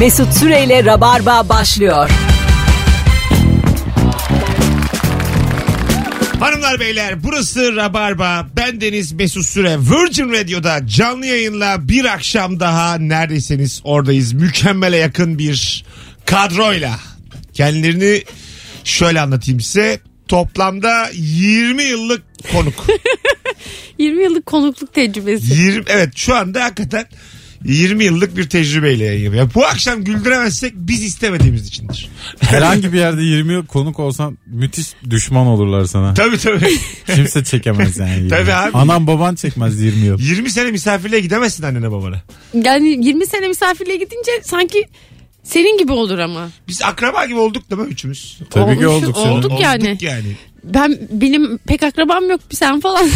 Mesut Süreyle Rabarba başlıyor. Hanımlar beyler burası Rabarba. Ben Deniz Mesut Süre. Virgin Radio'da canlı yayınla bir akşam daha neredeyseniz oradayız. Mükemmele yakın bir kadroyla. Kendilerini şöyle anlatayım size. Toplamda 20 yıllık konuk. 20 yıllık konukluk tecrübesi. 20 evet şu anda hakikaten 20 yıllık bir tecrübeyle yayın yapıyor. Bu akşam güldüremezsek biz istemediğimiz içindir. Herhangi bir yerde 20 yıl konuk olsan müthiş düşman olurlar sana. Tabii tabii. Kimse çekemez yani. 20 Tabii abi. Anam baban çekmez 20 yıl. 20 sene misafirliğe gidemezsin annene babana. Yani 20 sene misafirliğe gidince sanki senin gibi olur ama. Biz akraba gibi olduk değil mi üçümüz? Tabii ki Olmuş- olduk oldu. senin. Olduk yani. yani. Ben benim pek akrabam yok sen falan.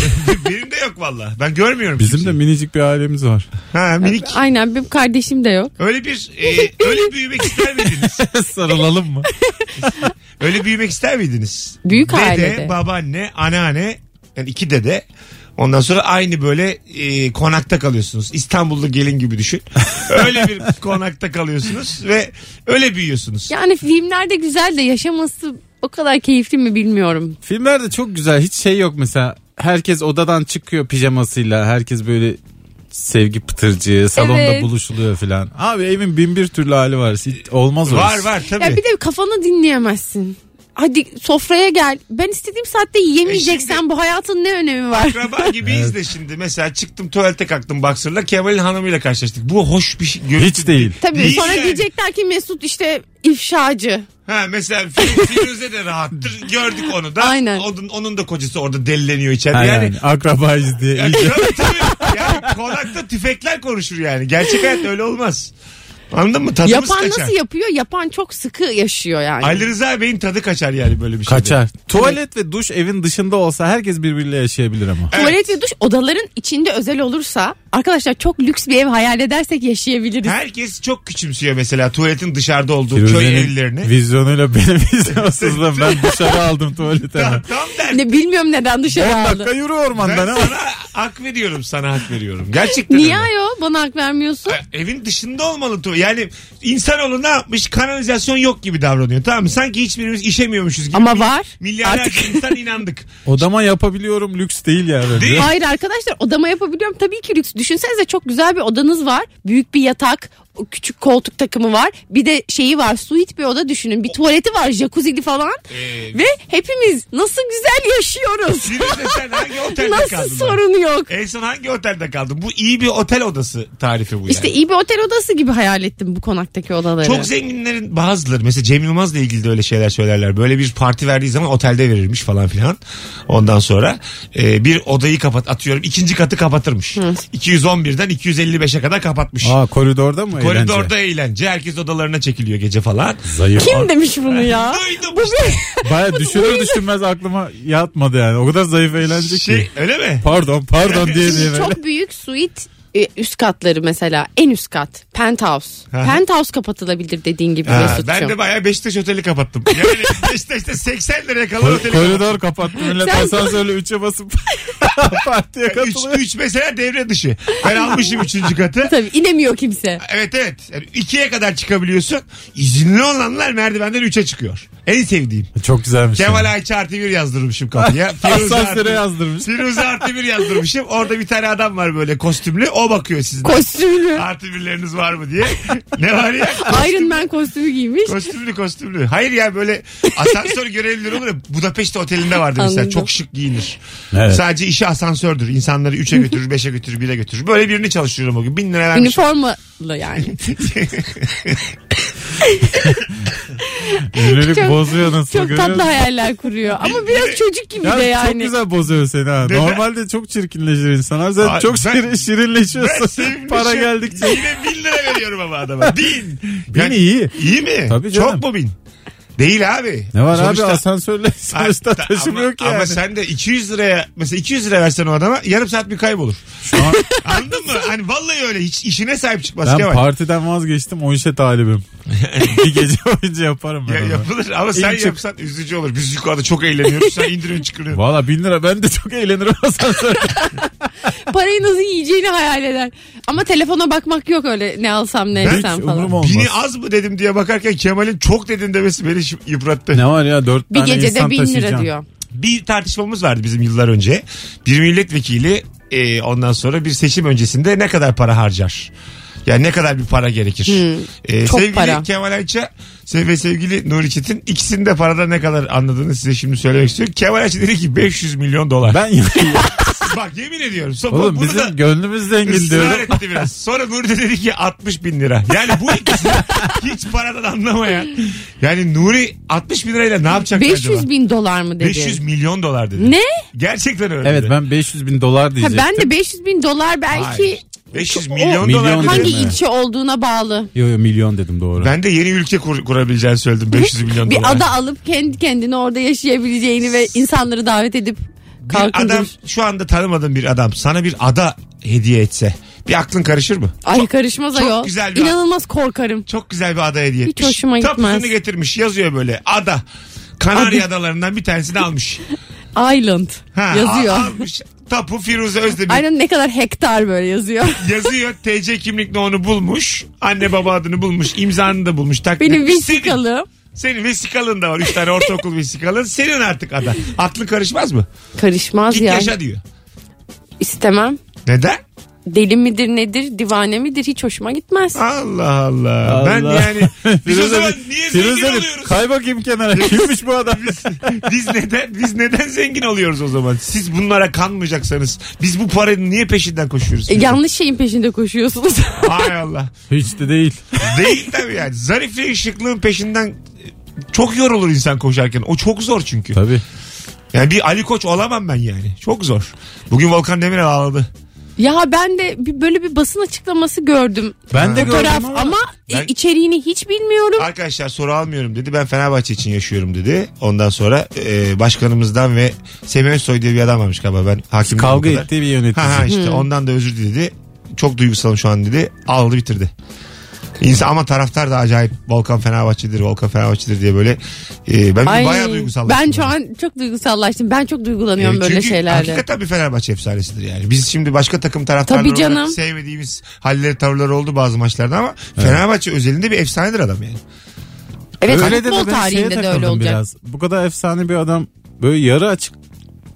Benim de yok valla. Ben görmüyorum. Bizim de kimseyi. minicik bir ailemiz var. Ha minik. Aynen benim kardeşim de yok. Öyle bir e, öyle büyümek ister miydiniz? Sarılalım mı? Öyle büyümek ister miydiniz? Büyük dede, ailede. babaanne, anneanne yani iki dede. Ondan sonra aynı böyle e, konakta kalıyorsunuz. İstanbullu gelin gibi düşün. Öyle bir konakta kalıyorsunuz ve öyle büyüyorsunuz. Yani filmlerde güzel de yaşaması o kadar keyifli mi bilmiyorum. Filmlerde çok güzel hiç şey yok mesela. Herkes odadan çıkıyor pijamasıyla. Herkes böyle sevgi pıtırcığı salonda Evet. buluşuluyor filan. Abi evin bin bir türlü hali var. Hiç olmaz orası. Var var tabii. Ya bir de kafanı dinleyemezsin. Hadi sofraya gel. Ben istediğim saatte yiyemeyeceksen E şimdi- bu hayatın ne önemi var? Akraba gibiyiz de şimdi. Mesela çıktım tuvalete kalktım baksırla Kemal'in hanımıyla karşılaştık. Bu hoş bir şey. görüntü Hiç değil. Tabii Değil sonra yani. diyecekler ki Mesut işte ifşacı. Ha mesela Fi- Firuze de rahattır. Gördük onu da. Aynen. Onun, onun da kocası orada delleniyor içeride. Ha, Yani yani akrabayız diye. Ya tabii tabii. Yani konakta tüfekler konuşur yani. Gerçek hayatta öyle olmaz. Anladın mı? Tadımız Yapan kaçar. nasıl yapıyor? Yapan çok sıkı yaşıyor yani. Ali Rıza Bey'in tadı kaçar yani böyle bir şeyde. Kaçar. Tuvalet ve duş evin dışında olsa herkes birbiriyle yaşayabilir ama. Evet. Tuvalet ve duş odaların içinde özel olursa arkadaşlar çok lüks bir ev hayal edersek yaşayabiliriz. Herkes çok küçümsüyor mesela tuvaletin dışarıda olduğu köy Firuze'nin evlerini. vizyonuyla benim vizyonsuzluğum. Ben dışarı aldım tuvalete. Tam, hemen. tam der. Ne bilmiyorum neden 10 dışarı dakika aldı. yürü Ben ormandan ama. sana hak veriyorum sana hak veriyorum. Gerçekten Niye öyle. yo bana hak vermiyorsun? E, Evin dışında olmalı tuvalet. Yani insanoğlu ne yapmış kanalizasyon yok gibi davranıyor tamam mı? Sanki hiçbirimiz işemiyormuşuz gibi. Ama var. Milyarlarca Artık. insan inandık. Odama yapabiliyorum lüks değil ya. bence. Değil. Hayır arkadaşlar odama yapabiliyorum tabii ki lüks. Düşünsenize çok güzel bir odanız var. Büyük bir yatak, o küçük koltuk takımı var. Bir de şeyi var suite bir oda düşünün. Bir tuvaleti var jacuzzi'li falan. Ve hepimiz nasıl güzel yaşıyoruz. Firuze sen hangi otelde kaldın? Nasıl sorun yok. En son hangi otelde kaldın? Bu iyi bir otel odası tarifi bu yani. İşte iyi bir otel odası gibi hayal ettim bu konaktaki odaları. çok zenginlerin bazıları mesela Cem Yılmaz'la ilgili de öyle şeyler söylerler. Böyle bir parti verdiği zaman otelde verirmiş falan filan. Ondan sonra e, bir odayı kapat atıyorum ikinci katı kapatırmış. 211'den 255'e kadar kapatmış. Aa koridorda mı eğlence? Koridorda eğlence. Herkes odalarına çekiliyor gece falan. Zayıf. Kim demiş bunu ya? Duydum işte. Baya düşünür düşünmez aklıma yatmadı yani. O kadar zayıf eğlence Şey, ki. öyle mi? Pardon pardon diye diye Şimdi böyle. çok büyük suite e, üst katları mesela en üst kat penthouse. Aha. penthouse kapatılabilir dediğin gibi Ha, Mesut'cum. ben de bayağı Beşiktaş oteli kapattım. Yani Beşiktaş'ta 80 liraya kalan Ko- oteli Koridor kapattı millet Sen- asansörle 3'e basıp partiye Üç, katılıyor. üç mesela devre dışı. Ben almışım üçüncü katı. Tabii inemiyor kimse. Evet evet. Yani ikiye kadar çıkabiliyorsun. İzinli olanlar merdivenden üçe çıkıyor. En sevdiğim. Çok güzelmiş. Kemal yani. Ayça artı bir yazdırmışım kapıya. Firuze Asansöre artı, yazdırmış. Firuze artı bir yazdırmışım. Orada bir tane adam var böyle kostümlü. O bakıyor sizin. Kostümlü. artı birleriniz var mı diye. ne var ya? Iron Man kostümü giymiş. Kostümlü kostümlü. Hayır ya böyle asansör görevlileri olur ya. Budapest otelinde vardı mesela. Anladım. Çok şık giyinir. Evet. Sadece işi asansördür. İnsanları 3'e götürür, 5'e götürür, 1'e götürür. Böyle birini çalışıyorum o gün. 1000 lira vermiş. Üniformalı yani. Yürürlük Çok- bozuyor nasıl Çok görüyor tatlı musun? hayaller kuruyor. Ama biraz çocuk gibi Ya de Çok yani. güzel bozuyor seni ha. Neden? Normalde çok çirkinleşir insanlar. Sen Ay, çok ben- şirin, Ben şey- şirinleşiyorsun. sevmişim. Para geldikçe. Yine 1000 lira veriyorum ama adama. Bin. Bin iyi. İyi mi? Tabii canım. Çok mu bin? Değil abi. Ne var Sonuçta- abi asansörle sonuçta Hatta- taşımıyor ama, ki yani. ama sen de 200 liraya mesela 200 lira versen o adama yarım saat bir kaybolur. Şu an Anladın mı? Hani vallahi öyle hiç işine sahip çıkmaz Şey ben Kemal. partiden vazgeçtim o işe talibim. bir gece boyunca yaparım ben Ya onu. yapılır ama sen çık. yapsan üzücü olur. Biz yukarıda çok eğleniyoruz. Sen indiriyorsun çıkıyorsun. Valla bin lira ben de çok eğlenirim asansörde. Parayı nasıl yiyeceğini hayal eder. Ama telefona bakmak yok öyle ne alsam ne Hiç etsem falan. umurum olmaz. Bini az mı dedim diye bakarken Kemal'in çok dedin demesi beni şi- yıprattı. Ne var ya dört Bir tane gecede insan bin lira taşıyacaksın. diyor. bir tartışmamız vardı bizim yıllar önce. Bir milletvekili e, ondan sonra bir seçim öncesinde ne kadar para harcar? Yani ne kadar bir para gerekir? E, Hmm. çok sevgili para. Kemal Ayça ve sevgili Nuri Çetin ikisinin de parada ne kadar anladığını size şimdi söylemek istiyorum. Kemal Ayça dedi ki 500 milyon dolar. Ben Bak yemin ediyorum. So- oğlum bunu bizim da gönlümüz zengin ısrar diyorum. etti biraz. Sonra Nuri de dedi ki 60 bin lira. Yani bu ikisi hiç paradan anlamayan. Yani Nuri 60 bin lirayla ne yapacak 500 acaba? bin dolar mı dedi? 500 milyon dolar dedi. Ne? Gerçekten öyle. Evet dedi. ben 500 bin dolar Ha, diyecektim. ben de 500 bin dolar belki Hayır. 500 O- milyon, Milyon dolar. dedi. Öyle hangi mi? ilçe olduğuna bağlı. Yo, yo, milyon dedim doğru. Ben de yeni ülke kur, kurabileceğini söyledim 500 milyon Bir dolar. ada alıp kendi kendine orada yaşayabileceğini ve insanları davet edip bir adam kalkındır. şu anda tanımadığın bir adam sana bir ada hediye etse bir aklın karışır mı? Ay karışmaz çok ayol. güzel bir- İnanılmaz korkarım. Çok güzel bir ada hediye Hiç etmiş. hoşuma Tapusunu gitmez. getirmiş yazıyor böyle ada. Kanarya adalarından bir tanesini almış. Island Ha, yazıyor. a- almış. Tapu Firuze Özdemir Aynen ne kadar hektar böyle yazıyor. yazıyor. TC kimlik onu bulmuş. Anne baba adını bulmuş. imzanı da bulmuş. takdim Benim etmiş. Senin, vesikalım. senin vesikalın da var. Üç tane ortaokul vesikalın. Senin artık ada. Aklın karışmaz mı? Karışmaz Git ya. yaşa diyor. İstemem. Neden? Deli midir nedir divane midir hiç hoşuma gitmez. Allah Allah. Ben yani biz o zaman niye zengin oluyoruz? Kay bakayım kenara. Kimmiş bu adam? biz neden biz neden zengin oluyoruz o zaman? Siz bunlara kanmayacaksanız biz bu paranın niye peşinden koşuyoruz? E, yanlış şeyin peşinde koşuyorsunuz. Hay Allah. Hiç de değil. Değil tabii yani. Zarifliğin şıklığın peşinden e, çok yorulur insan koşarken. O çok zor çünkü. Tabii. Yani bir Ali Koç olamam ben yani. Çok zor. Bugün Volkan Demirel ağladı. ya ben de bir, böyle bir basın açıklaması gördüm. Ben de gördüm Fotoğraf ama. ama e, Ben- içeriğini hiç bilmiyorum. Arkadaşlar soru almıyorum dedi. Ben Fenerbahçe için yaşıyorum dedi. Ondan sonra e, başkanımızdan ve Semih Özsoy diye bir adam varmış galiba. Ben hakim değilim o Kavga kadar. ettiği bir Ha, ha yönetici. işte ondan da özür diledi. Çok duygusalım şu an dedi. Aldı bitirdi. İnsan ama taraftar da acayip Volkan Fenerbahçe'dir, Volkan Fenerbahçe'dir diye böyle e, ben Ay, bayağı duygusallaştım. ben şu an çok duygusallaştım. Ben çok E, duygulanıyorum böyle çünkü şeylerde. hakikaten bir Fenerbahçe efsanesidir yani. Biz şimdi başka takım taraftarları Tabii canım. olarak sevmediğimiz halleri tavırları oldu bazı maçlarda ama Fenerbahçe özelinde bir efsanedir adam yani. Evet Öyle de futbol ben şeye tarihinde de öyle takıldım olacak. biraz. Bu kadar efsane bir adam böyle yarı açık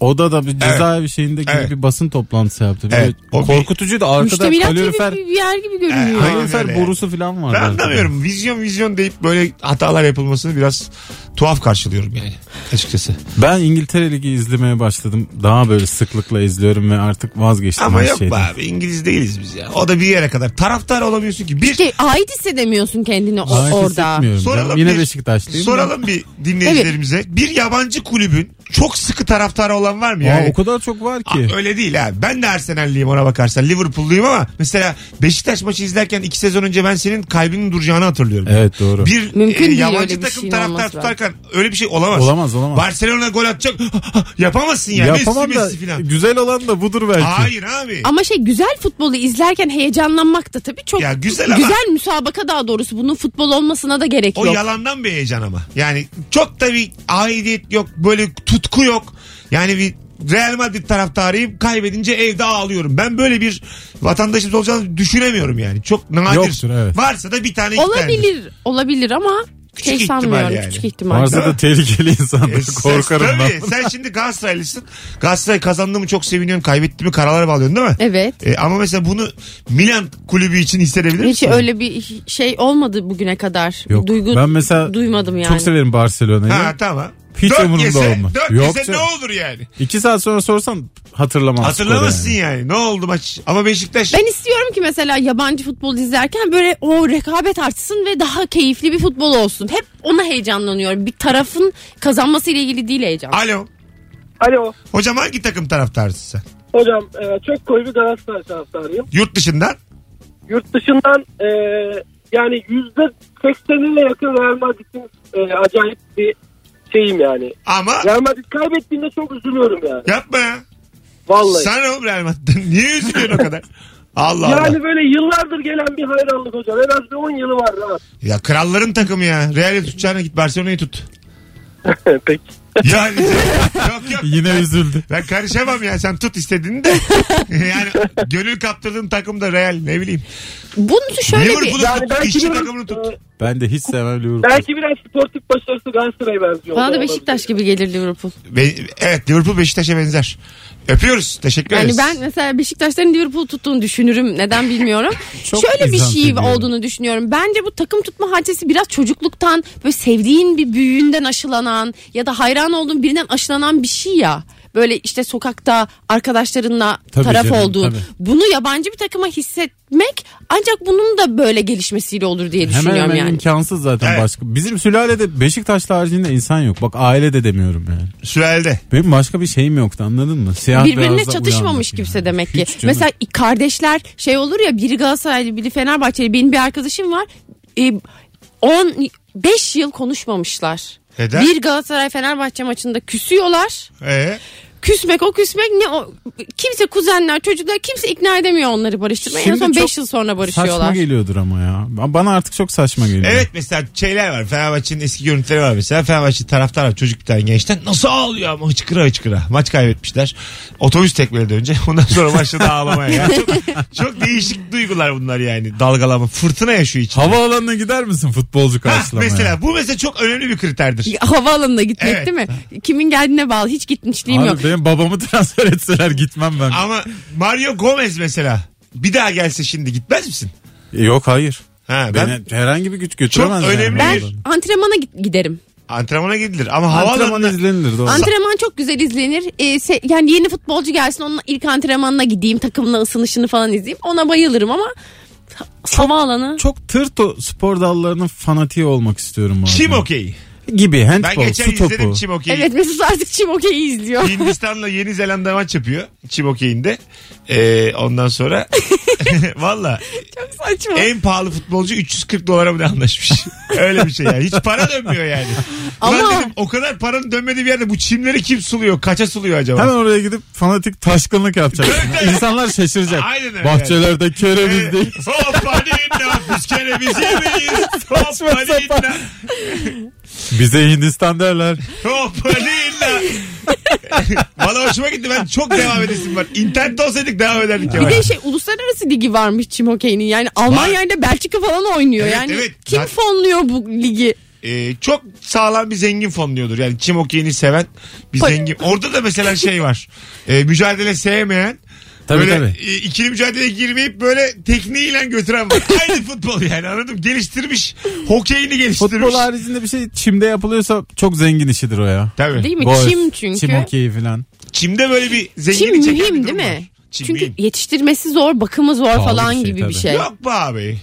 odada bir cezaevi şeyinde gibi Evet. bir basın toplantısı yaptı. Böyle Evet. O bir- korkutucu da arkada Müştemilat gibi kalorifer bir yer gibi Evet, görünüyor. aynen kalorifer öyle yani. borusu falan var. Ben anlamıyorum. Vizyon vizyon deyip böyle hatalar yapılmasını biraz tuhaf karşılıyorum yani açıkçası. Ben İngiltere Ligi izlemeye başladım. Daha böyle sıklıkla izliyorum ve artık vazgeçtim Ama her yok be şeyden. abi İngiliz değiliz biz ya. O da bir yere kadar. Taraftar olamıyorsun ki. Bir Ki Şey, ait hissedemiyorsun kendini o- Gayet orada. hissetmiyorum. Soralım Ben yine bir- Beşiktaşlıyım. da. Soralım bir dinleyicilerimize. Bir yabancı kulübün çok sıkı taraftarı olan var mı? Aa, Yani, o kadar çok var Aa, ki. öyle değil ha. Ben de Arsenalliyim ona bakarsan. Liverpool'luyum ama mesela Beşiktaş maçı izlerken iki sezon önce ben senin kalbinin duracağını hatırlıyorum. Evet doğru. Bir Mümkün e, değil yabancı öyle bir takım şeyin taraftar olması tutarken öyle bir şey olamaz. Olamaz, olamaz. Barcelona gol atacak. Yapamazsın yani. Yapamam Messi, da Messi falan. güzel olan da budur belki. Hayır abi. Ama şey güzel futbolu izlerken heyecanlanmak da tabii çok Ya güzel ama- güzel müsabaka daha doğrusu. Bunun futbol olmasına da gerek O yok. yalandan bir heyecan ama. Yani çok da bir aidiyet yok. Böyle tutku yok. Yani bir Real Madrid taraftarıyım. Kaybedince evde ağlıyorum. Ben böyle bir vatandaşımız olacağını düşünemiyorum yani. Çok nadir. Yoktur, evet. Varsa da bir tane iki tanedir. Olabilir, olabilir ama Küçük şey ihtimal sanmıyorum. yani. Küçük ihtimal. Varsa da tehlikeli insanlar. E, sen- Korkarım ben. tabii, Sen şimdi Galatasaraylısın. Galatasaray kazandı mı çok seviniyorsun. Kaybetti mi karalara bağlıyorsun değil mi? Evet. E, ama mesela bunu Milan kulübü için hissedebilir Hiç misin? öyle bir şey olmadı bugüne kadar. Yok. Duygu ben mesela duymadım yani. Çok severim Barcelona'yı. Ha tamam. Hiç umurumda yese, olmaz. Dört Yok yese ne canım. olur yani? İki saat sonra sorsan hatırlamaz. Hatırlamazsın skoru yani. yani. Ne oldu maç? Ama Beşiktaş Ben istiyorum ki mesela yabancı futbol izlerken böyle o rekabet artsın ve daha keyifli bir futbol olsun. Hep ona heyecanlanıyorum. Bir tarafın kazanmasıyla ilgili değil heyecan. Alo. Alo. Hocam hangi takım taraftarısın sen? Hocam e, çok koyu bir Galatasaray taraftarıyım. Yurt dışından? Yurt dışından e, yani yüzde seksenine yakın Real Madrid'in e, acayip bir şeyim yani. Ama Real Madrid kaybettiğinde çok üzülüyorum yani. yapma ya. Vallahi. Sen oğlum Real Madrid'den. Niye üzülüyorsun o kadar? Allah Allah. Yani böyle yıllardır gelen bir hayranlık hocam. En az bir 10 yılı var rahat. Ya kralların takımı ya. Real'i tutacağına git Barcelona'yı tut. Peki. Yani yok yok. Yine üzüldü. Ben karışamam ya sen tut istediğini de. yani gönül kaptırdığın takım da Real ne bileyim. Bunu şöyle bir... Liverpool'u Yani tut, belki işçi biraz, takımını tut. e, Ben de hiç sevmem Liverpool. belki biraz sportif başarısı Galatasaray'a benziyor. Bana da Olabilir. Beşiktaş gibi gelir Liverpool. Ve- evet Liverpool Beşiktaş'a benzer. Öpüyoruz. Teşekkür Yani ederiz. ben mesela Beşiktaşların Liverpool tuttuğunu düşünürüm. Neden bilmiyorum. Çok Şöyle bir izan şey ediyorum. olduğunu düşünüyorum. Bence bu takım tutma hadisesi biraz çocukluktan böyle sevdiğin bir büyüğünden aşılanan ya da hayran olduğun birinden aşılanan bir şey ya. Böyle işte sokakta arkadaşlarınla Tabii taraf canım, olduğun. tabii. Bunu yabancı bir takıma hissetmek ancak bunun da böyle gelişmesiyle olur diye Hemen düşünüyorum hemen yani. imkansız zaten Evet. başka. Bizim sülalede Beşiktaşlı haricinde insan yok. Bak ailede demiyorum yani. Sürel'de. Benim başka bir şeyim yoktu anladın mı? Siyah Birbirine beyazla çatışmamış uyandık kimse yani. demek ki. Hiç canım. Mesela kardeşler şey olur ya biri Galatasaraylı biri Fenerbahçeli benim bir arkadaşım var. 15 yıl konuşmamışlar. Neden? Bir Galatasaray Fenerbahçe maçında küsüyorlar. Ee, Küsmek o küsmek ne o kimse kuzenler çocuklar kimse ikna edemiyor onları barıştırmaya. en Şimdi son çok 5 yıl sonra Saçma barışıyorlar. geliyordur ama ya. Ba- Bana artık çok saçma geliyor. evet mesela şeyler var. Fenerbahçe'nin eski görüntüleri var mesela. Fenerbahçe taraftar var çocuk bir tane gençten. Nasıl ağlıyor ama hıçkıra hıçkıra. Maç kaybetmişler. Otobüs tekmeledi önce. Ondan sonra başladı ağlamaya. Ya. Çok, çok değişik duygular bunlar yani. Dalgalama. Fırtına yaşıyor içinde. Havaalanına gider misin futbolcu Ha, karşılamaya? mesela bu mesela çok önemli bir kriterdir. Havaalanına gitmek Evet. değil mi? Kimin geldiğine bağlı hiç gitmişliğim Abi yok. benim babamı transfer etseler gitmem ben. Ama Mario Gomez mesela bir daha gelse şimdi gitmez misin? E, Yok hayır. Ha, ben Beni herhangi bir güç Çok götüremez. yani önemli Ben bir- buradan. antrenmana gi- giderim. antrenmana gidilir ama Antrenman havaalanına izlenilir doğru. Antrenman çok güzel izlenir. Ee, se- yani yeni futbolcu gelsin onun ilk antrenmanına gideyim takımla ısınışını falan izleyeyim. Ona bayılırım ama havaalanı. çok tırt o spor dallarının fanatiği olmak istiyorum. bu arada. çim okeyi. Gibi Ben handball, geçen su izledim topu. çim okeyi. Evet Mesut artık çim okeyi izliyor. Hindistan'la Yeni Zelanda maç yapıyor çim okeyinde. Ee, ondan sonra valla Saçma. en pahalı futbolcu 340 dolara mı ne anlaşmış? Öyle bir şey yani. Hiç para dönmüyor yani. Ama... Ama- dedim o kadar paranın dönmediği bir yerde bu çimleri kim suluyor? Kaça suluyor acaba? Hemen oraya gidip fanatik taşkınlık yapacaksın. İnsanlar şaşıracak. Aynen öyle Bahçelerde Ee, kereviz değil. Hop hadi inna biz kereviz yemeyiz. Hop hadi inna. Bize Hindistan derler. Hop hadi inna. Valla hoşuma gitti. Ben çok devam edesim var. İnternette olsaydık devam ederdik. Bir de şey uluslararası ligi varmış çim okeyinin. Yani Almanya'yla Belçika falan oynuyor. Evet, yani evet. kim Zaten- fonluyor bu ligi? e, çok sağlam bir zengin fonluyordur. Yani çim okeyini seven bir Ay. zengin. Orada da mesela şey var. E, mücadele sevmeyen Tabii böyle tabii. e, ikili mücadeleye girmeyip böyle tekniğiyle götüren var. Aynı futbol yani anladım. Geliştirmiş. Hokeyini geliştirmiş. Futbol haricinde bir şey çimde yapılıyorsa çok zengin işidir o ya. Tabii. Değil mi? Golf, çim çünkü. Çim hokeyi falan. Çimde böyle bir Çim zengin mühim değil mi? Çünkü... Çünkü yetiştirmesi zor, bakımı zor Pahalı falan bir şey gibi bir tabii. şey. Yok be abi.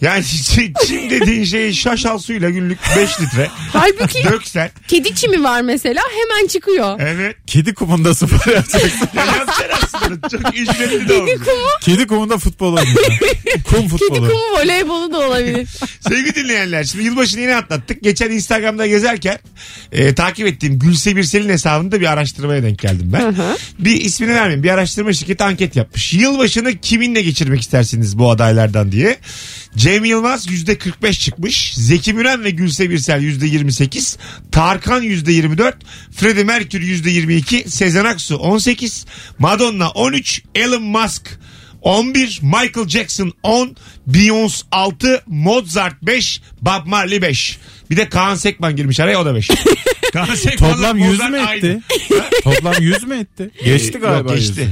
Yani çim çim dediğin şey şaşal suyla günlük 5 litre. Halbuki Döksen. kedi çimi var mesela hemen çıkıyor. Evet. Kedi kumunda spor yapacaksın. Ya yapacaksın aslında. Çok ücretli de Kedi olmuyor. kumu, Kedi kumunda futbol oynayacak. Kum kedi futbolu. kumu voleybolu da olabilir. Sevgili dinleyenler şimdi yılbaşını yine atlattık. Geçen Instagram'da gezerken e, takip ettiğim Gülse Birsel'in hesabında bir araştırmaya denk geldim ben. bir ismini vermeyeyim. Bir araştırma şirketi anket yapmış. Yılbaşını kiminle geçirmek istersiniz bu adaylardan diye. Cem Yılmaz %45 çıkmış. Zeki Müren ve Gülse Birsel %28. Tarkan %24. Freddie Mercury %22. Sezen Aksu 18. Madonna 13. Elon Musk 11, Michael Jackson 10, Beyoncé 6, Mozart 5, Bob Marley 5. Bir de Kaan Sekman girmiş araya o da 5. Kaan Sekman'la Toplam 100 Mozart mü aynı. etti? Toplam 100 mü etti? Ee, Geçti Yok, galiba. geçti. yüzü.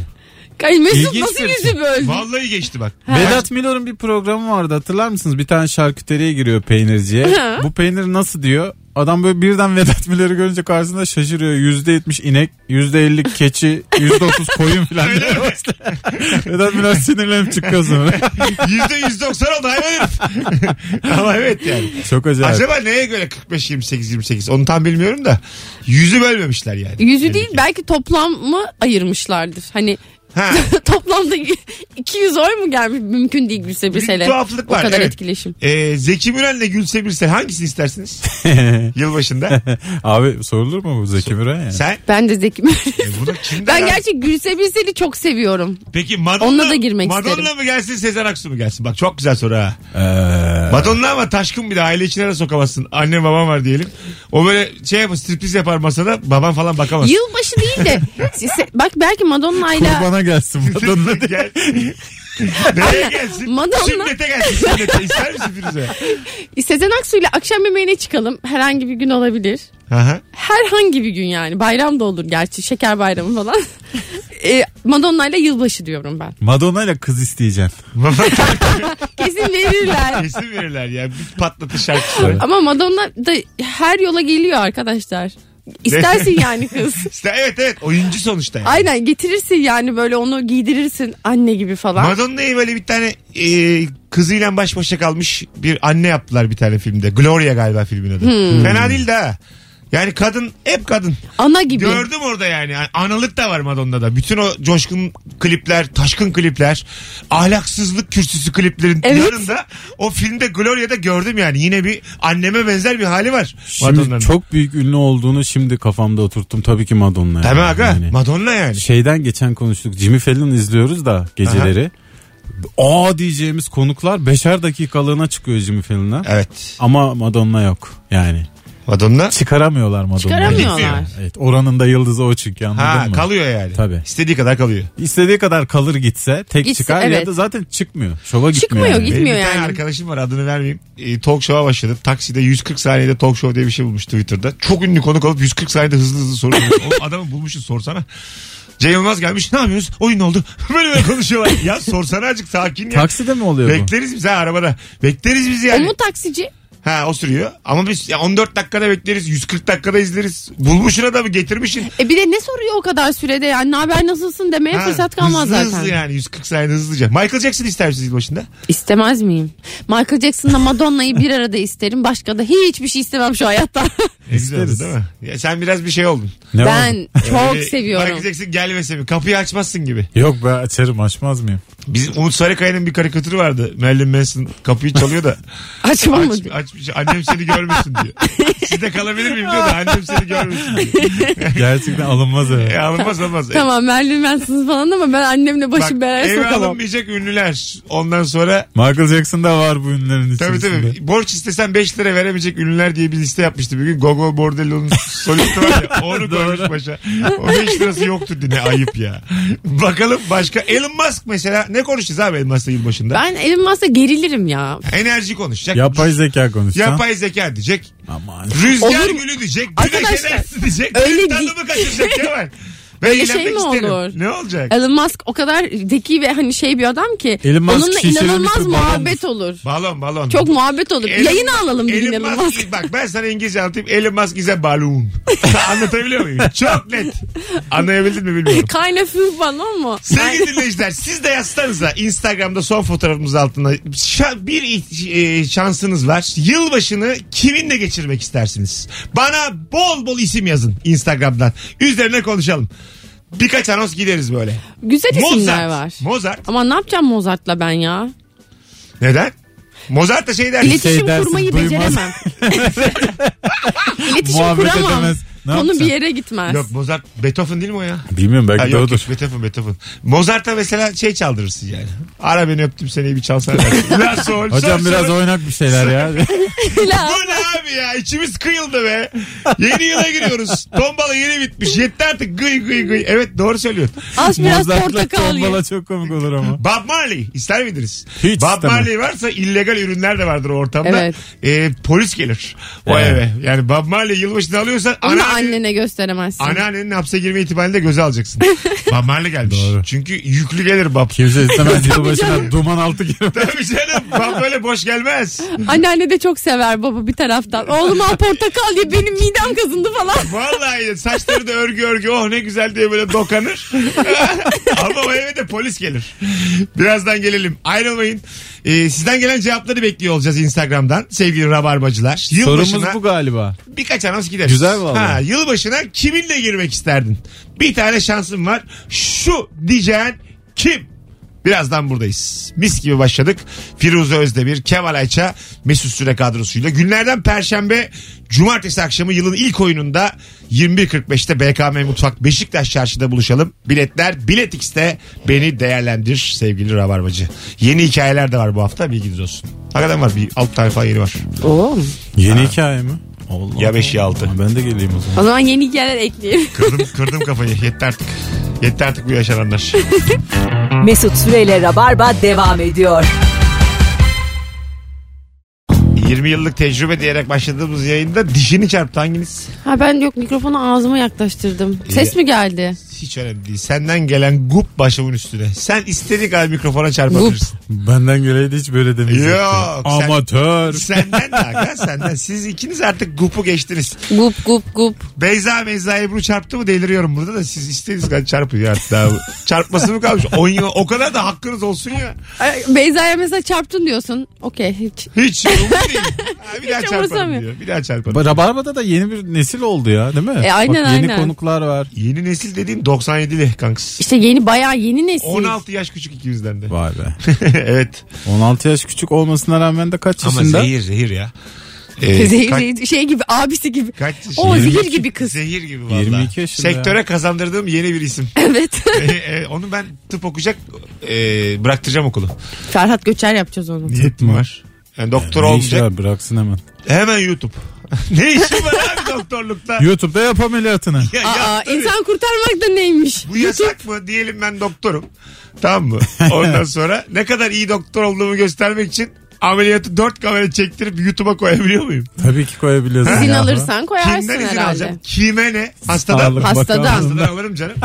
Ay Mesut İlginç nasıl bir- yüzü böldü? Vallahi geçti bak. Vedat Milor'un bir programı vardı hatırlar mısınız? Bir tane şarküteriye giriyor peynirciye. Hı. Bu peynir nasıl diyor? Adam böyle birden Vedat Milor'u görünce karşısında şaşırıyor. Yüzde yetmiş inek, yüzde elli keçi, yüzde otuz koyun filan. Öyle mi? Vedat Milor sinirlenip çıkıyor sonra. %190 oldu hayvan herif. Ama evet yani. Çok acayip. Acaba neye göre 45, 28, 28 onu tam bilmiyorum da yüzü bölmemişler yani. Yüzü Belli değil ki. belki toplamı ayırmışlardır. Hani Ha. toplamda 200 oy mu gelmiş? Mümkün değil Gülse Bir Birsel'e. tuhaflık O var, kadar evet. etkileşim. Ee, Zeki Müren'le Gülse Birsel hangisini istersiniz? Yılbaşında. Abi sorulur mu bu Zeki Müren ya? Sen? Ben de Zeki E, bunu kimden Ben aldın? gerçek Gülse Birsel'i çok seviyorum. Peki Madonna, Onunla da girmek Madonna isterim. mı gelsin Sezen Aksu mu gelsin? Bak çok güzel soru ha. Ee, Batonlu ama taşkın bir de aile içine de sokamazsın. Annem babam var diyelim. O böyle şey yapar striptiz yapar masada babam falan bakamaz. Yılbaşı değil de se- bak belki Madonna'yla Kurbana gelsin. Madonna. Gel. Nereye gelsin? Madonna. Sünnete gelsin sünnete. İster misin Firuze? Sezen Aksu'yla akşam yemeğine çıkalım. Herhangi bir gün olabilir. Aha. Herhangi bir gün yani. Bayram da olur gerçi. Şeker bayramı falan. e, Madonna'yla yılbaşı diyorum ben. Madonna ile kız isteyeceksin. Kesin verirler. Kesin verirler ya. Bir patlatı şarkısı. Ama Madonna da her yola geliyor arkadaşlar. İstersin yani kız. İşte evet evet oyuncu sonuçta yani. Aynen getirirsin yani böyle onu giydirirsin anne gibi falan. Madonna'yı böyle bir tane e, kızıyla baş başa kalmış bir anne yaptılar bir tane filmde. Gloria galiba filmin adı. Hmm. Fena değil de ha. Yani kadın hep kadın. Ana gibi. Gördüm orada yani. Yani Analık da var Madonna'da. Bütün o coşkun klipler, taşkın klipler, ahlaksızlık kürsüsü kliplerin Evet. yanında o filmde Gloria'da gördüm yani. Yine bir anneme benzer bir hali var Şimdi Madonna'nın. çok büyük ünlü olduğunu şimdi kafamda oturttum. Tabii ki Madonna. Tabii yani. aga. Yani Madonna yani. Şeyden geçen konuştuk. Jimmy Fallon izliyoruz da geceleri. Aa diyeceğimiz konuklar beşer dakikalığına çıkıyor Jimmy Fallon'a. Evet. Ama Madonna yok yani. Madonna. Çıkaramıyorlar Madonna'yı. Çıkaramıyorlar. Evet, oranın da yıldızı o çünkü anladın Ha mı? kalıyor yani. Tabii. İstediği kadar kalıyor. İstediği kadar kalır gitse tek Gitse, çıkar ya evet. da zaten çıkmıyor. Şova Çıkmıyor, gitmiyor. yani. gitmiyor. Benim bir tane yani. arkadaşım var adını vermeyeyim. E, talk show'a başladı. Takside 140 saniyede talk show diye bir şey bulmuş Twitter'da. Çok ünlü konuk olup 140 saniyede hızlı hızlı soru bulmuş. Oğlum adamı bulmuşsun sorsana. Cem Yılmaz gelmiş ne yapıyoruz? Oyun oldu. böyle böyle konuşuyorlar. ya sorsana azıcık sakin ya. Takside mi oluyor bu? Bekleriz biz ha arabada. Bekleriz biz O yani. mu taksici? Ha o sürüyor. Ama biz ya 14 dakikada bekleriz. 140 dakikada izleriz. Bulmuşsun adamı getirmişsin. E bir de ne soruyor o kadar sürede yani ne haber nasılsın demeye Ha, fırsat kalmaz hızlı zaten. Hızlı yani 140 saniyede hızlıca. Michael Jackson ister misiniz yılbaşında? İstemez miyim? Michael Jackson'la Madonna'yı bir arada isterim. Başka da hiçbir şey istemem şu hayatta. Ne güzel oldu İsteriz. değil mi? Ya sen biraz bir şey oldun. Ne oldu? ben çok Ee, seviyorum. Michael Jackson gelmese mi? Kapıyı açmazsın gibi. Yok be açarım açmaz mıyım? Biz Umut Sarıkaya'nın bir karikatürü vardı. Marilyn Manson kapıyı çalıyor da Açmam mı? aç, açmış. Annem seni görmesin diyor. Sizde kalabilir miyim diyor da annem seni görmesin diyor. Gerçekten alınmaz E, eve. alınmaz alınmaz. Tamam Merlin Manson'suz falan ama ben annemle E, bak, başım belaya eve sokamam. alınmayacak ünlüler. Ondan sonra Michael Jackson da var bu ünlerin tabii içerisinde. tabii borç istesen 5 lira veremeyecek ünlüler diye bir liste yapmıştı. Bir gün Gogo Bordello'nun solisti var ya onu koymuş başa. O 5 lirası yoktu diye ne ayıp ya. Bakalım başka Elon Musk mesela ne konuşacağız abi Elon Musk'la yılbaşında? Ben Elon Musk'a gerilirim ya. Enerji konuşacak. Yapay zeka konuşsan. Yapay zeka diyecek. Aman. Rüzgar Olur mu? gülü diyecek. Güneş Arkadaşlar, enerjisi diyecek. öyle Öyle di- Tadımı kaçıracak Kemal. Ben Öyle eğlenmek şey mi isterim. olur? Ne olacak? Elon Musk o kadar zeki ve hani şey bir adam ki Elon Musk onunla şişirilmiş bir inanılmaz babam. muhabbet olur. Balon balon. Çok muhabbet olur. Elon- Yayını alalım bir gün Elon Elon Musk, Musk. bak ben sana İngilizce anlatayım. Elon Musk is a balloon. Anlatabiliyor muyum? Çok net. Anlayabildin mi bilmiyorum. Kind of falan ama. Sevgili dinleyiciler siz de yazsanıza Instagram'da son fotoğrafımız altına şa- bir iht- e, şansınız var. Yılbaşını kiminle geçirmek istersiniz? Bana bol bol isim yazın Instagram'dan. Üzerine konuşalım. Birkaç anons gideriz böyle. Güzel isimler Mozart. var. Mozart. Ama ne yapacağım Mozart'la ben ya? Neden? Mozart da şey der. Şey İletişim dersin, kurmayı duymaz. beceremem. İletişim Muhabbet kuramam. edemez. Ne Konu yapacaksın? bir yere gitmez. Yok Mozart Beethoven değil mi o ya? Bilmiyorum Ha, belki de yok, odur. yok, Beethoven Beethoven. Mozart'a mesela şey çaldırırsın yani. Ara beni öptüm seni bir çalsana. La sol. Hocam sol, biraz sol. oynak bir şeyler ya. Hala Bu ne abi ya içimiz kıyıldı be. Yeni yıla giriyoruz. Tombala yeni bitmiş. Yetti artık gıy gıy gıy. Evet doğru söylüyorsun. az biraz Mozart'la portakal ye. tombala çok komik olur ama. Bob Marley ister miydiniz? Hiç Bob istemem. Marley varsa illegal ürünler de vardır o ortamda. Evet. Ee, polis gelir o Evet. eve. Yani Bob Marley yılbaşını alıyorsan Onu da anneanne- annene gösteremezsin. anneannenin hapse girme ihtimalinde göze alacaksın. Bob Marley gelmiş. Doğru. Çünkü yüklü gelir Bob. Kimse istemez yılbaşına canım. duman altı girme. Tabii canım Bob böyle boş gelmez. Anneanne de çok sever baba bir taraftan. Oğlum al portakal ye benim midem kazındı falan. Vallahi saçları da örgü örgü oh ne güzel diye böyle dokanır. Ama o eve de polis gelir. Birazdan gelelim. Ayrılmayın. Ee, sizden gelen cevapları bekliyor olacağız Instagram'dan sevgili rabarbacılar. Sorumuz Yılbaşına bu galiba. birkaç anons gideriz. Güzel vallahi. Ha, yılbaşına kiminle girmek isterdin? Bir tane şansın var. Şu diyeceğin kim? Birazdan buradayız. Mis gibi başladık. Firuze Özdemir, Kemal Ayça, Mesut Süre kadrosuyla. Günlerden Perşembe, Cumartesi akşamı yılın ilk oyununda 21.45'te BKM Mutfak Beşiktaş Çarşı'da buluşalım. Biletler Biletix'te beni değerlendir sevgili Rabarbacı. Yeni hikayeler de var bu hafta bilginiz olsun. Hakikaten var bir alt tane falan yeni var. Oo. Yeni hikaye mi? Allah Ya beş ya altı. Allah. Ben de geleyim o zaman. O zaman yeni hikayeler ekleyelim. Kırdım, kırdım kafayı yetti artık. Yetti artık bu yaşananlar. Mesut Süreyle Rabarba devam ediyor. 20 yıllık tecrübe diyerek başladığımız yayında dişini çarptı hanginiz? Ha ben yok mikrofonu ağzıma yaklaştırdım. Ses mi geldi? Hiç önemli değil. Senden gelen gup başımın üstüne. Sen istediğin kadar mikrofona çarpabilirsin. Benden geleydi hiç böyle demeyecekti. Yok, sen- Amatör. senden de aga, senden. Siz ikiniz artık gupu geçtiniz. Gup gup gup. Beyza Meyza Ebru çarptı mı deliriyorum burada da siz istediğiniz kadar çarpın ya. Daha çarpması mı kalmış? On yıl, o kadar da hakkınız olsun ya. Ay, Beyza'ya mesela çarptın diyorsun. Okey hiç. Hiç umurumda değil. Ha, bir daha Hiç çarparım umursamıyor. diyor. Bir daha çarparım. Ba- Rabarba'da da yeni bir nesil oldu ya değil mi? E, aynen, Bak, yeni aynen. konuklar var. Yeni nesil dediğin 97'li kankız. İşte yeni bayağı yeni nesil. 16 yaş küçük ikimizden de. Vay be. evet. 16 yaş küçük olmasına rağmen de kaç yaşında? zehir ya. Ee, Zehir, zehir, şey gibi abisi gibi. Kaç yaşında? O zehir 22. gibi kız. Zehir gibi valla. 22 yaşında Sektöre ya. kazandırdığım yeni bir isim. evet. Ee, e, onu ben tıp okuyacak e, bıraktıracağım okulu. Ferhat Göçer yapacağız onu. Niyetim var. Yani doktor Ne işi olmayacak. var bıraksın hemen. Hemen YouTube. ne işi var abi doktorlukta? YouTube'da yap ameliyatını. Ya, Aa, yap tabii. insan kurtarmak da neymiş? Bu yasak mı? Diyelim ben doktorum. Tamam mı? Ondan sonra ne kadar iyi doktor olduğumu göstermek için ameliyatı dört kamera çektirip YouTube'a koyabiliyor muyum? Tabii ki koyabiliyorsun. İzin ya. alırsan koyarsın Kimden izin herhalde. alacağım? Kime ne? Hastadan. Sağlık Hastadan. Hastadan Bakanlığı'ndan. alırım canım.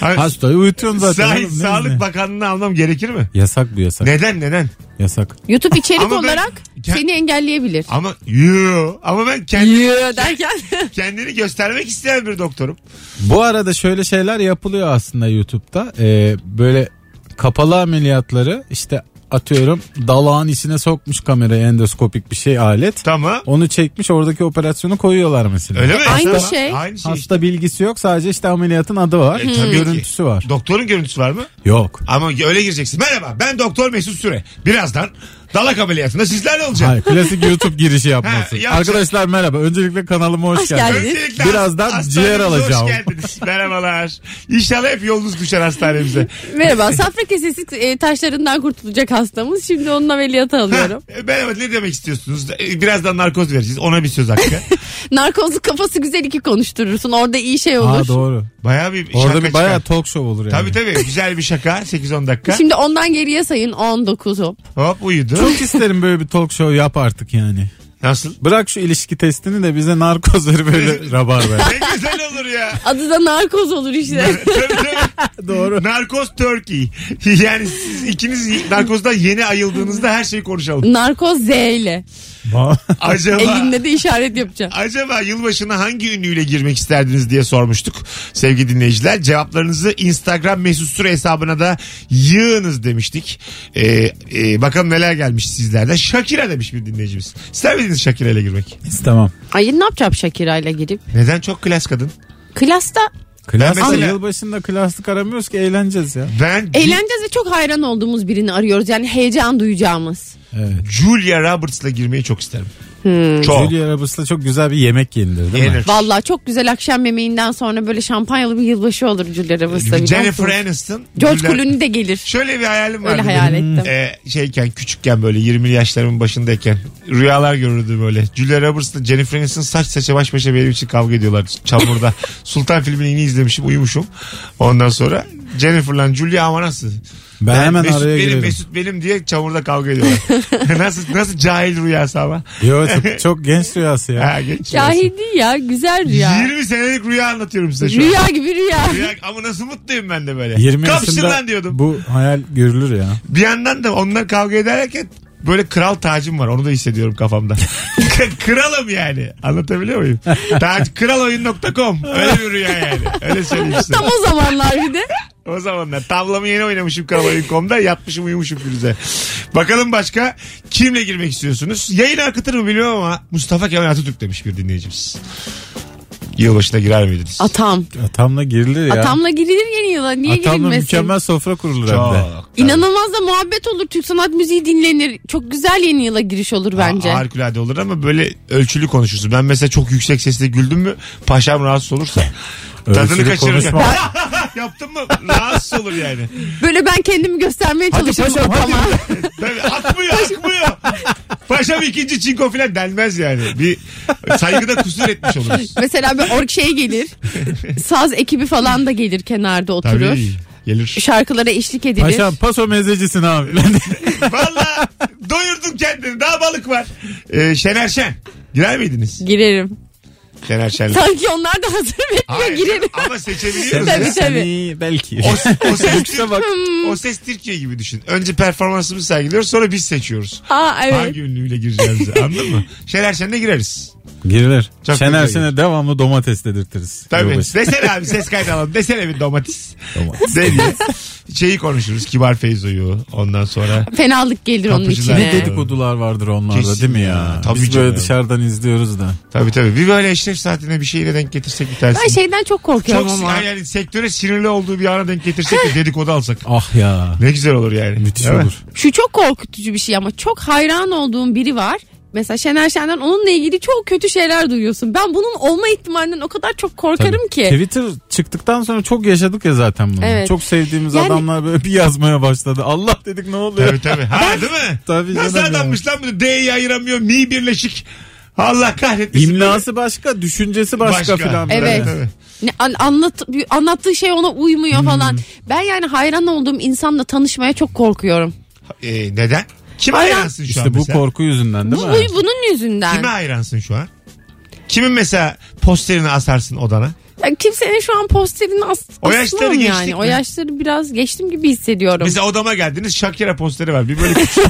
Hayır, Hastayı uyutuyorsun zaten. Sahi, oğlum, ne Sağlık izni? Bakanlığı'na almam gerekir mi? Yasak bu yasak. Neden neden? Yasak. YouTube içerik Ama ben- olarak Ke- seni engelleyebilir. Ama yoo. Ama ben kendi, Yürü derken kendini göstermek isteyen bir doktorum. Bu arada şöyle şeyler yapılıyor aslında YouTube'da. Ee, böyle kapalı ameliyatları işte atıyorum dalağın içine sokmuş kamerayı endoskopik bir şey alet. Tamam. Onu çekmiş oradaki operasyonu koyuyorlar mesela. Öyle mi? Aynı Tamam. şey. Hmm. Aynı şey. işte. Hasta bilgisi yok sadece işte ameliyatın adı var. E, tabii görüntüsü ki. var. Doktorun görüntüsü var mı? yok. Ama öyle gireceksin. Merhaba ben doktor Mesut Süre. Birazdan dalak ameliyatında sizlerle olacağım. Hayır, klasik YouTube girişi yapması. Ha, yapacak. Arkadaşlar merhaba. Öncelikle kanalıma hoş, Hoş geldiniz. geldiniz. Öncelikle Birazdan hast- ciğer hastanemize alacağım. Hoş geldiniz. Merhabalar. İnşallah hep yolunuz düşer hastanemize. merhaba safra kesesi e, taşlarından kurtulacak hastamız. Şimdi onun ameliyatı alıyorum. Ha, e, merhaba ne demek istiyorsunuz? E, Birazdan narkoz vereceğiz. Ona bir söz hakkı. Narkozluk kafası güzel iki konuşturursun. Orada iyi şey Aa, olur. doğru. Bayağı bir Orada şaka bir bayağı çıkar. talk show olur yani. Tabii tabii güzel bir şaka 8-10 dakika. Şimdi ondan geriye sayın 19'u. Hop uyudu. Çok isterim böyle bir talk show yap artık yani. Nasıl? Bırak şu ilişki testini de bize narkoz ver böyle rabar ver. Ne güzel olur ya. Adı da narkoz olur işte. Tabii, tabii. Doğru. Narkoz Turkey. Yani siz ikiniz narkozdan yeni ayıldığınızda her şeyi konuşalım. narkoz Z ile. Acaba Elinde de işaret yapacağım. Acaba yılbaşına hangi ünlüyle girmek isterdiniz diye sormuştuk sevgili dinleyiciler. Cevaplarınızı Instagram mesut süre hesabına da yığınız demiştik. Ee, e, bakalım neler gelmiş sizlerden. Shakira demiş bir dinleyicimiz. İster miydiniz Shakira ile girmek? İstemem. Ay ne yapacağım Shakira ile girip? Neden? Çok klas kadın. Klasta Klas Ben mesela- yılbaşında klaslık aramıyoruz ki eğleneceğiz ya. Ben eğleneceğiz ve çok hayran olduğumuz birini arıyoruz. Yani heyecan duyacağımız. Evet. Julia Roberts'la girmeyi çok isterim. Çok. Julia Roberts'la çok güzel bir yemek yenilir değil mi? Yenir. Hmm. Vallahi çok güzel akşam yemeğinden sonra böyle şampanyalı bir yılbaşı olur Julia Roberts'la. biliyor Jennifer musunuz? Aniston. George Julia- Clooney de gelir. Şöyle bir hayalim vardı. Öyle hayal benim. ettim. Ee, şeyken küçükken böyle 20'li yaşlarımın başındayken rüyalar görürdü böyle. Julia Roberts'la Jennifer Aniston saç saça baş başa benim için kavga ediyorlar çamurda. Sultan filmini yeni izlemişim uyumuşum. Ondan sonra Jennifer'la Julia ama nasıl? Ben hemen Mesut araya benim, girerim. Mesut benim diye çamurda kavga ediyorlar. nasıl nasıl cahil rüyası ama. Yo, çok, çok genç rüyası ya. Ha, geç Şahidi ya güzel rüyası. rüya. 20 senelik rüya anlatıyorum size şu an. Rüya gibi rüya. Rüya- Ama nasıl mutluyum ben de böyle. 20 Kapşın yaşında lan diyordum. bu hayal görülür ya. Bir yandan da onlar kavga ederken böyle kral tacım var. Onu da hissediyorum kafamda. K- Kralım yani. Anlatabiliyor muyum? Tac, kraloyun.com. Öyle bir rüya yani. Öyle söyleyeyim size. Tam o zamanlar bir de. O zamanlar tavlamı yeni oynamışım kraloyun.com'da. Yatmışım uyumuşum Firuze. Bakalım başka kimle girmek istiyorsunuz? Yayın akıtır mı bilmiyorum ama Mustafa Kemal Atatürk demiş bir dinleyicimiz. Yılbaşına girer miydiniz? Atam. Atamla girilir ya. Atamla girilir yeni yıla. Niye Atamla girilmesin? mükemmel sofra kurulur hem de. Çok. İnanılmaz da muhabbet olur. Türk sanat müziği dinlenir. Çok güzel yeni yıla giriş olur bence. Ha, harikulade olur ama böyle ölçülü konuşursun. Ben mesela çok yüksek sesle güldüm mü paşam rahatsız olursa. Tadını Ölçülü kaçırır. konuşma. Yaptın mı? Rahatsız olur yani. Böyle ben kendimi göstermeye çalışırım paşam, hadi. atama. Tabii akmıyor akmıyor. Paşam ikinci çinko falan denmez yani. Bir saygıda kusur etmiş oluruz. Mesela bir ork şey gelir. Saz ekibi falan da gelir kenarda oturur. Tabii. Gelir. Şarkılara eşlik edilir. Paşam paso mezecisin abi. Valla doyurdun kendini. Daha balık var. Ee, Şener Şen. Girer miydiniz? Girerim. Şener Şen'le. Sanki onlar da hazır bekliyor Hayır, girerim. Ama seçebiliyoruz. Tabii, ya. tabii. Belki. O, o, ses, Yoksa bak. Hmm. o ses Türkiye gibi düşün. Önce performansımızı sergiliyoruz sonra biz seçiyoruz. Aa evet. Hangi ünlüyle gireceğimizi anladın mı? Şener Şen'le gireriz. Girilir. Çok Şener güzel Şen'e devamlı domates dedirtiriz. Tabii. Yılbaşı. Desene abi ses kaydı alalım. Desene bir domates. Domates. Ne diye. Şeyi konuşuruz. Kibar Feyzo'yu. Ondan sonra Fenalık gelir onun Kapıcılar. içine. Ne dedikodular vardır onlarda Kesin değil mi ya? ya. Tabii Biz canım. böyle dışarıdan izliyoruz da. Tabii tabii. Bir böyle eşref saatine bir şeyle denk getirsek bir tanesini. Ben şeyden çok korkuyorum Çok sin- ama. yani sektöre sinirli olduğu bir ana denk getirsek de dedikodu alsak. Ah ya. Ne güzel olur yani. Müthiş Değil mi? olur. Şu çok korkutucu bir şey ama çok hayran olduğum biri var. Mesela Şener Şen'den onunla ilgili çok kötü şeyler duyuyorsun. Ben bunun olma ihtimalinden o kadar çok korkarım Tabii. ki. Twitter çıktıktan sonra çok yaşadık ya zaten bunu. Evet. Çok sevdiğimiz Yani- adamlar böyle bir yazmaya başladı. Allah dedik ne oluyor? Tabii tabii. Ha değil mi? Tabii Nasıl canım ya. adammış lan bu? D'yi ayıramıyor. Mi birleşik. Allah kahretmesin. İmlası başka, düşüncesi başka, filan. böyle. Evet. Ne, an- anlat, bir- anlattığı şey ona uymuyor Hmm. falan. Ben yani hayran olduğum insanla tanışmaya çok korkuyorum. Ee, neden? Kime Aynen. hayransın şu an İşte bu mesela? korku yüzünden Bu, değil mi? bu- bunun yüzünden. Kime hayransın şu an? Kimin mesela posterini asarsın odana? Ya kimsenin şu an posterini as- O yaşları asmam yani. geçtik O mi? yaşları biraz geçtim gibi hissediyorum. Mesela odama geldiniz Shakira posteri var. Bir böyle küçük.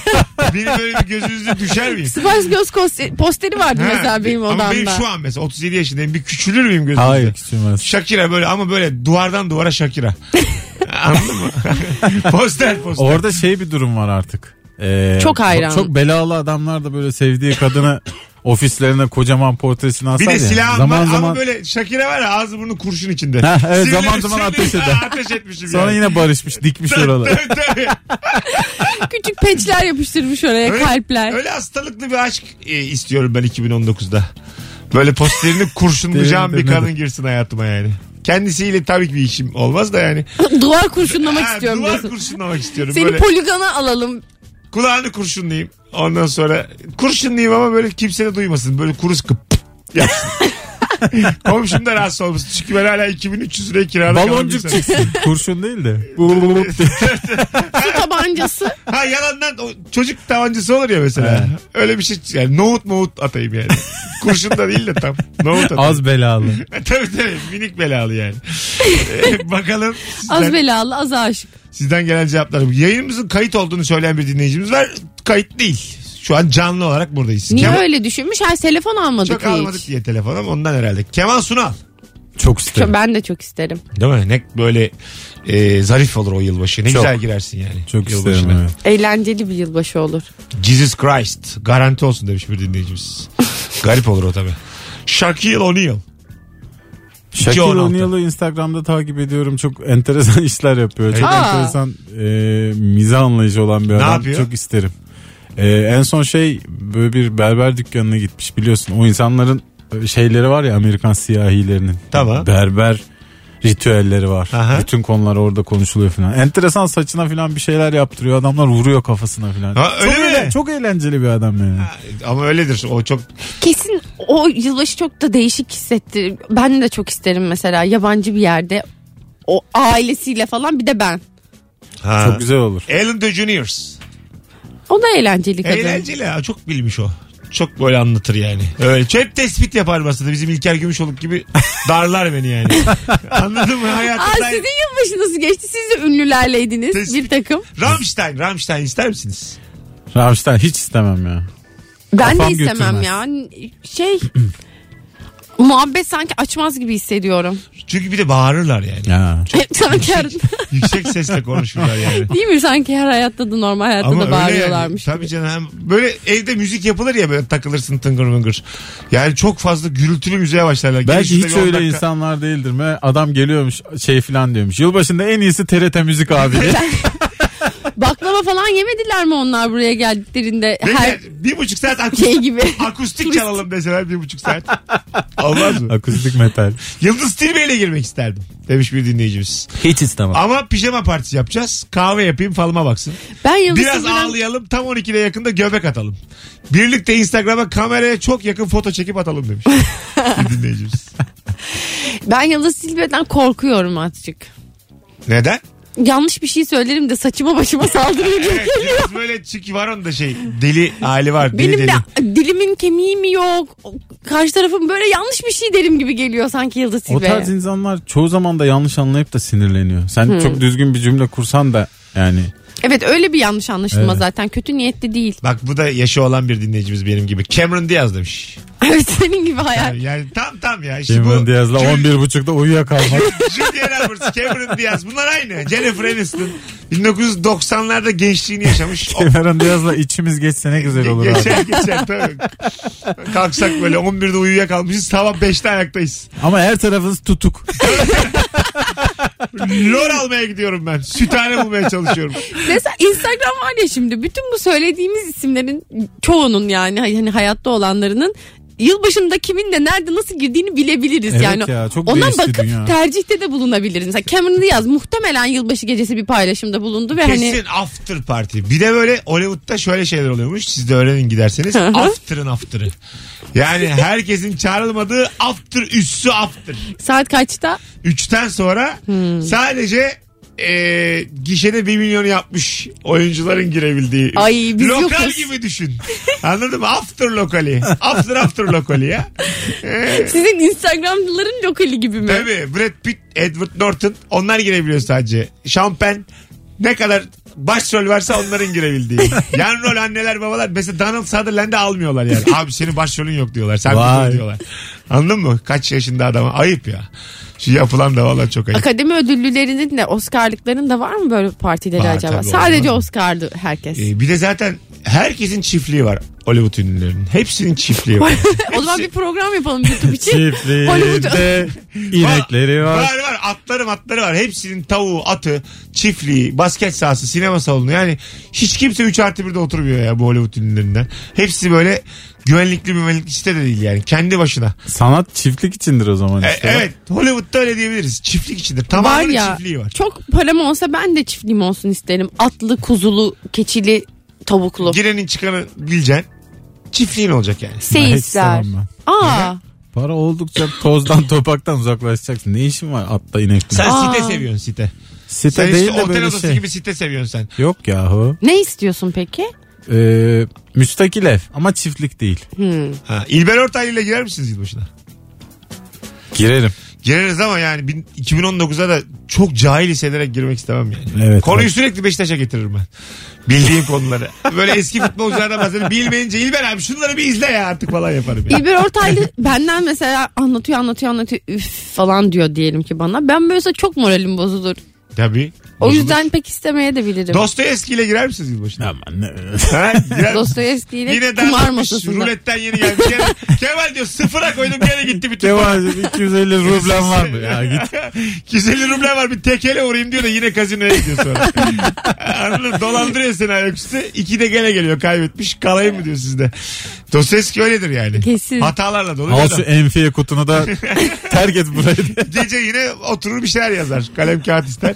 bir böyle bir gözünüzü düşer miyim? Sipariş göz kos- posteri vardı mesela benim odamda. Ama benim şu an mesela 37 yaşındayım. Bir küçülür müyüm gözünüzde? Hayır Şey, küçülmez. Shakira böyle ama böyle duvardan duvara Shakira. Anladın mı? poster poster. Orada şey bir durum var artık. Ee, Çok hayran. Çok belalı adamlar da böyle sevdiği kadını ofislerine kocaman portresini asar bir de ya. silahım zaman var zaman ama böyle Shakira var ya ağzı burnu kurşun içinde. Ha, evet, Sinirlenip zaman zaman ateş sinirlenip- eder. Ha, ateş etmişim sonra yani. yine şey barışmış dikmiş oraları. Tabii, tabii. Küçük peçler yapıştırmış oraya Öyle- kalpler. Öyle hastalıklı bir aşk e, istiyorum ben 2019'da. Böyle posterini kurşunlayacağım bir Denedim, kadın denedim. girsin hayatıma yani. Kendisiyle tabii ki bir işim olmaz da yani. Duvar kurşunlamak Ha, istiyorum duvar diyorsun. kurşunlamak istiyorum. Seni böyle poligona alalım. kulağını kurşunlayayım. Ondan sonra kurşunlayayım ama böyle kimse de duymasın. Böyle kuru sıkı pıt yapsın. Komşum da rahatsız olmasın. Çünkü ben hala 2300 liraya kirada kalan bir Baloncuk insanım. çıksın. Kurşun değil de. Su tabancası. Ha yalandan o çocuk tabancası olur ya mesela. Öyle bir şey. Yani nohut nohut atayım yani. Kurşun da değil de tam. Nohut atayım. Az belalı. tabii tabii minik belalı yani. Ee, bakalım sizden, Az belalı az aşık. sizden gelen cevaplar. Yayınımızın kayıt olduğunu söyleyen bir dinleyicimiz var. Kayıt değil. Şu an canlı olarak buradayız. Niye Kemal- öyle düşünmüş? Hayır telefon almadık Çok hiç. almadık diye telefonum ondan herhalde. Kemal Sunal. Çok Çok- isterim. ben de çok isterim. Değil mi? Ne böyle e, zarif olur o yılbaşı. Ne Çok. güzel girersin yani. Çok Yılbaşına. isterim. evet. Eğlenceli bir yılbaşı olur. Jesus Christ. Garanti olsun demiş bir dinleyicimiz. Garip olur o tabii. Shaquille O'Neal. Şakir 16. O'Neal'ı Instagram'da takip ediyorum. Çok enteresan işler yapıyor. Çok Aa. enteresan e, miza anlayışı olan bir adam. yapıyor? Çok isterim. E, en son şey böyle bir berber dükkanına gitmiş biliyorsun. O insanların e, şeyleri var ya Amerikan siyahilerinin. Tamam. Berber ritüelleri var. Aha. Bütün konular orada konuşuluyor falan. Enteresan saçına falan bir şeyler yaptırıyor. Adamlar vuruyor kafasına falan. Ha, öyle çok, mi? eğlen- çok eğlenceli bir adam yani. Ama öyledir. O çok Kesin o yılbaşı çok da değişik hissetti. Ben de çok isterim mesela yabancı bir yerde. O ailesiyle falan bir de ben. ha. Çok güzel olur. Alan DeGeneres. O da eğlenceli kadın. Eğlenceli ha. Çok bilmiş o. Çok böyle anlatır yani. Öyle. Hep tespit yapar masada. Bizim İlker Gümüşoluk gibi darlar beni yani. Anladın mı? Aa, Hayatımda... sizin yılbaşı nasıl geçti? Siz de ünlülerleydiniz Tespit- bir takım. Rammstein. Rammstein ister misiniz? Rammstein hiç istemem ya. Ben Kafam de istemem götürmez. ya. Şey Muhabbet sanki açmaz gibi hissediyorum. Çünkü bir de bağırırlar yani. Ya. sanki şey. her, Yüksek sesle konuşurlar yani. değil mi? Sanki her hayatta da normal hayatta da öyle bağırıyorlarmış. Yani, tabii canım. Hem Böyle evde müzik yapılır ya böyle takılırsın tıngır mıngır. Yani çok fazla gürültülü müziğe başlarlar. Gelin Belki şurada hiç bir on öyle dakika. insanlar değildir. mi? Adam geliyormuş şey filan diyormuş. Yılbaşında en iyisi TRT müzik abi. diye. Baklava falan yemediler mi onlar buraya geldiklerinde? Beyler, Her bir buçuk saat akustik, şey gibi. akustik çalalım deseler bir buçuk saat. Olmaz mı? Akustik metal. Yıldız Tilbe ile girmek isterdim demiş bir dinleyicimiz. Hiç istemem. Ama pijama partisi yapacağız. Kahve yapayım falıma baksın. Ben Yıldız Biraz Tilbe'den- ağlayalım tam 12'de yakında göbek atalım. Birlikte Instagram'a kameraya çok yakın foto çekip atalım demiş. bir dinleyicimiz. Ben Yıldız Tilbe'den korkuyorum artık. Neden? Yanlış bir şey söylerim de saçıma başıma saldırır gibi Evet, geliyor. biraz böyle çünkü var onda şey deli hali var. Deli Benim deli. de dilimin kemiği mi yok? Karşı tarafım böyle yanlış bir şey derim gibi geliyor sanki Yıldız O Tilbe'ye. tarz insanlar çoğu zaman da yanlış anlayıp da sinirleniyor. Sen çok düzgün bir cümle kursan da yani. Evet öyle bir yanlış anlaşılma Evet. zaten. Kötü niyetli değil. Bak bu da yaşı olan bir dinleyicimiz benim gibi. Cameron Diaz demiş. Evet senin gibi hayal. Yani, yani tam tam ya. İşte Cameron bu- Diaz'la Jul- 11.30'da uyuyakalmak. Julia Roberts, Cameron Diaz bunlar aynı. Jennifer Aniston 1990'larda gençliğini yaşamış. O- Cameron Diaz'la içimiz geçsene güzel olur abi. geçer geçer tabii. Kalksak böyle 11'de uyuyakalmışız sabah 5'te ayaktayız. Ama her tarafınız tutuk. Lor almaya gidiyorum ben. Sütane bulmaya çalışıyorum. Mesela Instagram var ya şimdi bütün bu söylediğimiz isimlerin çoğunun yani hani hayatta olanlarının yılbaşında kimin de nerede nasıl girdiğini bilebiliriz Evet yani. ya, çok Ona değişti bakıp dünya. tercihte de bulunabiliriz. Mesela Cameron Diaz muhtemelen yılbaşı gecesi bir paylaşımda bulundu ve Kesin hani after party. Bir de böyle Hollywood'da şöyle şeyler oluyormuş. Siz de öğrenin giderseniz. Hı hı. After'ın after'ı. Yani herkesin çağrılmadığı after üssü after. saat kaçta? Üçten sonra sadece e, gişede 1 milyonu yapmış oyuncuların girebildiği. Ay, biz Lokal yokuz. gibi düşün. Anladın mı? After lokali. After after lokali ya. Sizin Instagram'ların lokali gibi mi? Tabii Brad Pitt, Edward Norton onlar girebiliyor sadece. Şampen ne kadar başrol varsa onların girebildiği. Yan rol anneler babalar. Mesela Donald Sutherland'i almıyorlar yani. Abi senin başrolün yok diyorlar. Sen Vay. kızıl diyorlar. Anladın mı? Kaç yaşında adama. Ayıp ya. Şu yapılan da valla çok ayıp. Akademi ödüllülerinin de Oscar'lıkların da var mı böyle partileri Var acaba? tabii, Sadece olmaz Oscar'lı herkes. Ee, bir de zaten herkesin çiftliği var. Hollywood ünlülerinin. Hepsinin çiftliği var. o zaman bir program yapalım YouTube için. Hollywood- Çiftliğinde inekleri var. Var var. Atları matları var. Hepsinin tavuğu, atı, çiftliği, basket sahası, sinema salonu. Yani hiç kimse 3 artı 1'de oturmuyor ya bu Hollywood ünlülerinden. Hepsi böyle güvenlikli güvenlikli site de değil yani. Kendi başına. Sanat çiftlik içindir o zaman E, işte. evet. Hollywood'da öyle diyebiliriz. Çiftlik içindir. var Tamamının ya çiftliği var. çok param olsa ben de çiftliğim olsun isterim. Atlı, kuzulu, keçili, tavuklu. Girenin çıkanı bileceksin. Çiftliğin olacak yani. Ben hiç Seyisler. sevmem ben. Şey Aa, Para oldukça tozdan topaktan uzaklaşacaksın. Ne işin var atta inekte? Sen Aa. site seviyorsun site. Site Sen değil işte de otel böyle odası şey. gibi site seviyorsun sen. Yok yahu. ne istiyorsun peki? Ee, müstakil ev ama çiftlik değil. Ha, İlber Ortaylı ile girer misiniz yılbaşına? Girerim. Gireriz ama yani bin- 2019'a da çok cahil hissederek girmek istemem yani. Evet, Konuyu evet. sürekli Beşiktaş'a getiririm ben. Bildiğim konuları. Böyle eski futbolculardan bahsediyorum. Bilmeyince İlber abi şunları bir izle ya artık falan yaparım. Yani. İlber Ortaylı benden mesela anlatıyor anlatıyor anlatıyor üf falan diyor diyelim ki bana. Ben böylese çok moralim bozulur. Tabii. O Bozulur. yüzden pek istemeye de bilirim. Dostoyevski ile girer misiniz yılbaşına? Aman ne. Ha, girer misiniz? Dostoyevski ile Yine kumar dağılmış. masasında. Ruletten yeni geldi. Kemal, Kemal diyor sıfıra koydum gene gitti bütün. Kemal'cim 250 rublen var mı? Ya git. 250 ruble var bir tekele uğrayayım diyor da yine kazinoya gidiyor sonra. Anladın mı? Dolandırıyor seni ayaküstü. İki de gene geliyor kaybetmiş. Kalayım mı diyor sizde. Dostoyevski öyledir yani. Kesin. Hatalarla dolu. bir Al adam. şu enfiye kutunu da terk et burayı. Gece yine oturur bir şeyler yazar. Kalem kağıt ister.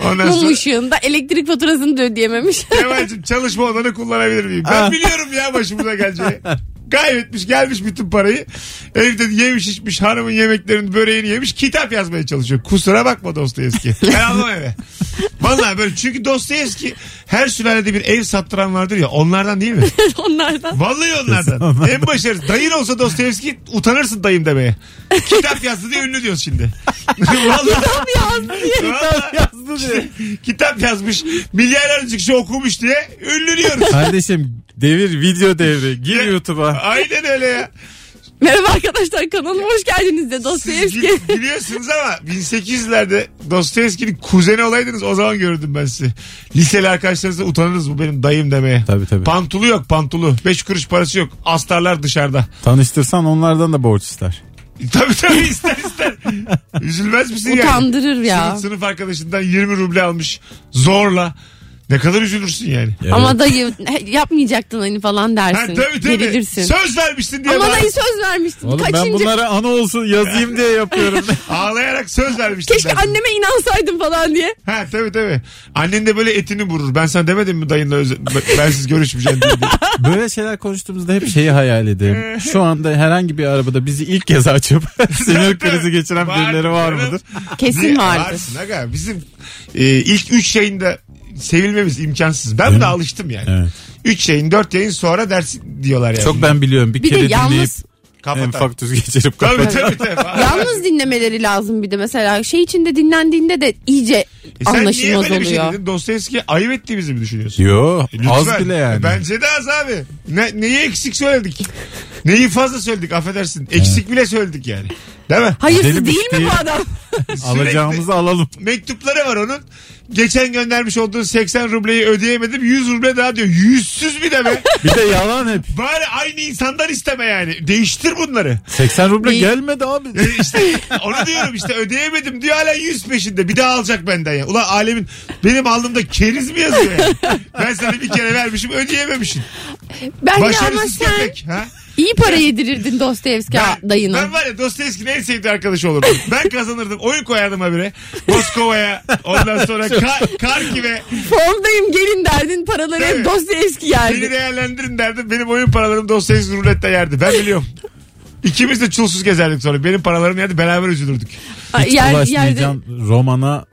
Ondan Mum sonra ışığında elektrik faturasını da ödeyememiş. Kemal'cim çalışma odanı kullanabilir miyim? Ben biliyorum ya başımıza geleceği. Kaybetmiş gelmiş bütün parayı. Evde yemiş içmiş hanımın yemeklerini böreğini yemiş kitap yazmaya çalışıyor. Kusura bakma Dostoyevski. Ben almam eve. Vallahi böyle çünkü Dostoyevski her sülalede bir ev sattıran vardır ya onlardan değil mi? Onlardan. Vallahi onlardan. en başarılı. Dayın olsa Dostoyevski utanırsın dayım demeye. Kitap yazdı diye ünlü diyoruz şimdi. Vallahi. Vallahi. yazdı diye. Kitap yazmış. Milyarlarca kişi okumuş diye ünlü diyoruz. Kardeşim devir video devri. Gir YouTube'a. Aynen öyle ya. Merhaba arkadaşlar kanalıma hoş geldiniz de Siz Dostoyevski. gül- gülüyorsunuz ama 1800'lerde Dostoyevski'nin kuzeni olaydınız o zaman görürdüm ben sizi. Liseli arkadaşlarınızla utanırız bu benim dayım demeye. Tabii, tabii. Pantulu yok pantulu. 5 kuruş parası yok. Astarlar dışarıda. Tanıştırsan onlardan da borç ister. Tabii tabii ister ister. Üzülmez misin yani? Utandırır ya. Sınıf, sınıf arkadaşından 20 ruble almış zorla. Ne kadar üzülürsün yani. Ama dayı he, yapmayacaktın hani falan Ha, dersin. tabii tabii. Gerilirsin. Söz vermiştin diye Ama bana- dayı söz vermiştin. Oğlum ben Kaçıncı? bunlara ana olsun yazayım diye yapıyorum. ağlayarak söz vermiştin. Keşke dersin. anneme inansaydım falan diye. Ha tabii tabii. Annen de böyle etini vurur. Ben sana demedim mi dayınla öz- ben siz görüşmeyeceğim diye. Böyle şeyler konuştuğumuzda hep şeyi hayal ediyorum. Şu anda herhangi bir arabada bizi ilk kez açıp sinir krizi geçiren birileri var canım. mıdır? Kesin Niye? vardır. Varsın aga. Bizim e, ilk 3 yayında sevilmemiz imkansız. Ben buna alıştım yani. Evet. 3 yayın 4 yayın sonra dersin diyorlar yani. Çok ben biliyorum. Bir, Bir de kere dinleyip yalnız Kapatan. enfaktüs geçirip Tabii kapat. tabii tabii. yalnız dinlemeleri lazım bir de mesela şey içinde dinlendiğinde de iyice E sen niye anlaşılmaz böyle bir şey oluyor. dedin? Dostoyevski ayıp ettiğimizi mi düşünüyorsun? Yo E, Lütfen. az bile yani. Bence de az abi. Ne, neyi eksik söyledik? neyi fazla söyledik affedersin. Eksik bile söyledik yani. Değil mi? Hayırsız Deli değil mi bitti. bu adam? Alacağımızı alalım. Mektupları var onun. Geçen göndermiş olduğun 80 rubleyi ödeyemedim. 100 ruble daha diyor. Yüzsüz bir de be. Bir de yalan hep. Bari aynı insandan isteme yani. Değiştir bunları. 80 ruble Bir- gelmedi abi. E işte onu diyorum işte ödeyemedim diyor hala 100 peşinde. Bir daha alacak benden ya. Ulan alemin benim alnımda keriz mi yazıyor yani? Ben sana bir kere vermişim ödeyememişim. Bence ama Başarısız sen köpek. Ha? iyi para yedirirdin Dostoyevski dayına. Ben var ya Dostoyevski'nin en sevdiği arkadaşı olurdum. Ben kazanırdım. Oyun koyardım habire. Moskova'ya. Ondan sonra Ka- Karkiv'e. Formdayım gelin derdin paraları Tabii. hep Dostoyevski Beni yerdi. değerlendirin derdim. Benim oyun paralarım Dostoyevski rulette yerdi. Ben biliyorum. İkimiz de çulsuz gezerdik sonra. Benim paralarım yerdi. Beraber üzülürdük. Ha, Hiç yer- yerde bulaşmayacağım romana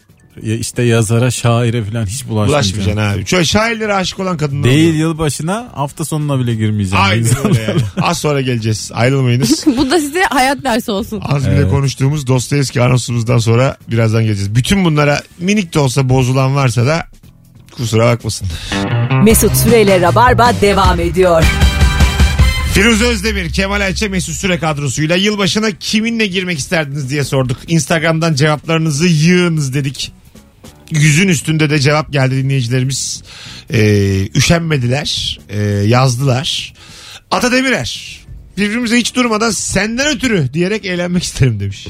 ya işte yazara şaire falan hiç bulaşmayacağım. Ulaşmayacaksın abi. Şöyle şairlere aşık olan kadınlar. Değil oluyor. yılbaşına hafta sonuna bile girmeyeceğim. Aynen öyle yani. Az sonra geleceğiz. Ayrılmayınız. bu da size hayat dersi olsun. Az bile Evet. konuştuğumuz Dostoyevski anonsumuzdan sonra birazdan geleceğiz. Bütün bunlara minik de olsa bozulan varsa da kusura bakmasın. Mesut Süreyle Rabarba devam ediyor. Firuze Özdemir, Kemal Ayça, Mesut Süre kadrosuyla yılbaşına kiminle girmek isterdiniz diye sorduk. Instagram'dan cevaplarınızı yığınız dedik. Yüzün üstünde de cevap geldi dinleyicilerimiz. Ee, üşenmediler, ee, yazdılar. Ata Demirer, birbirimize hiç durmadan senden ötürü diyerek eğlenmek isterim demiş.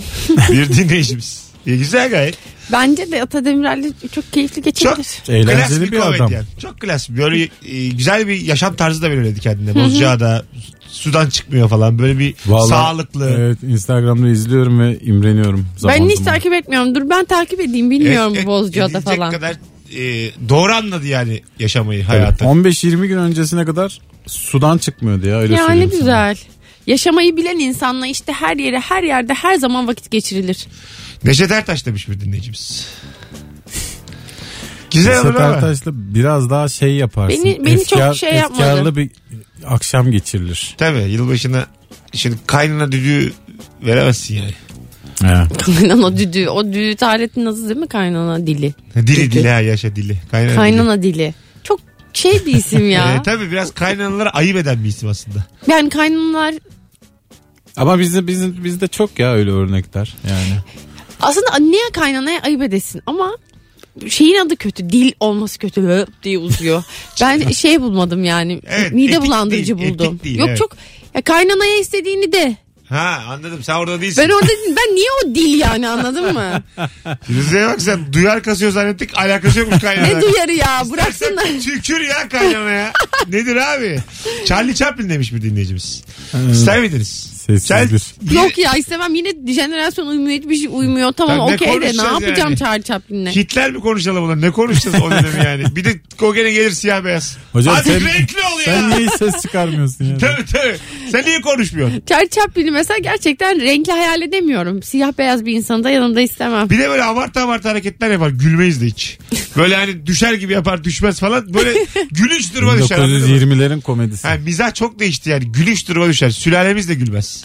Bir dinleyicimiz. E, güzel gayet. Bence de Ata Demirer'le çok keyifli geçebilir. Çok Eğlenceli klas bir komedyen. adam. Çok klas. Böyle e, güzel bir yaşam tarzı da belirledi kendine. Bozcaada sudan çıkmıyor falan. Böyle bir Vallahi- e, sağlıklı. Evet Instagram'da izliyorum ve imreniyorum. Zaman ben hiç zaman. takip etmiyorum. Dur ben takip edeyim. Bilmiyorum Et- et- bu Bozcaada E, edilecek falan. kadar e, doğru anladı yani yaşamayı, Tabii. hayatı. 15-20 gün öncesine kadar sudan çıkmıyordu ya öyle Ya ne söyleyeyim sana. güzel. Yaşamayı bilen insanla işte her yere her yerde her zaman vakit geçirilir. Neşet Ertaş demiş bir dinleyicimiz. Güzel olur Sefer ama. Taş'la biraz daha şey yaparsın. Beni- beni çok şey yapmadı. Efkarlı bir akşam geçirilir. Tabii yılbaşına şimdi kaynana düdüğü veremezsin yani. He. Kaynana düdüğü. O düdüğü aleti nasıl değil mi kaynana dili? Dili dili ha yaşa dili. Kaynana, dili. Kaynana dili. Çok şey bir isim E, ya. tabii biraz kaynanalara ayıp eden bir isim aslında. yani kaynanalar Ama bizde bizim bizde çok ya öyle örnekler yani. aslında anneye kaynanaya ayıp edesin ama şeyin adı kötü. Dil olması kötü löp diye uzuyor. ben şey bulmadım yani. Evet, mide etik bulandırıcı değil, buldum. etik değil, Yok evet. çok ya kaynanaya istediğini de. Ha anladım sen orada değilsin. Ben orada ben niye o dil yani anladın mı? Rize'ye bak sen duyar kasıyor zannettik alakası yokmuş kaynana. ne duyarı ya bıraksana. Tükür ya kaynana ya. Nedir abi? Charlie Chaplin demiş bir dinleyicimiz. İster miydiniz? Sessiz Sen- bir. Yok ya istemem yine jenerasyon uymuyor hiçbir şey uymuyor tamam Tabii ne okey de ne konuşacağız yapacağım yani? Charlie Chaplin'le. Hitler mi konuşalım ulan? Ne konuşacağız o dönemi yani? Bir de o gene gelir siyah beyaz. Hocam Hadi sen- renkli ol Sen ya. niye hiç ses çıkarmıyorsun ya? Tabii tabii. Sen niye konuşmuyorsun? Charlie Chaplin'i mesela gerçekten renkli hayal edemiyorum. Siyah beyaz bir insanı da yanımda istemem. Bir de böyle abartı abartı hareketler yapar. Gülmeyiz de hiç. Böyle hani düşer gibi yapar düşmez falan. Böyle gülünç duruma düşer. anladın mı? 1920'lerin komedisi. Ha, mizah çok değişti yani. Gülüş duruma düşer. Sülalemiz de gülmez.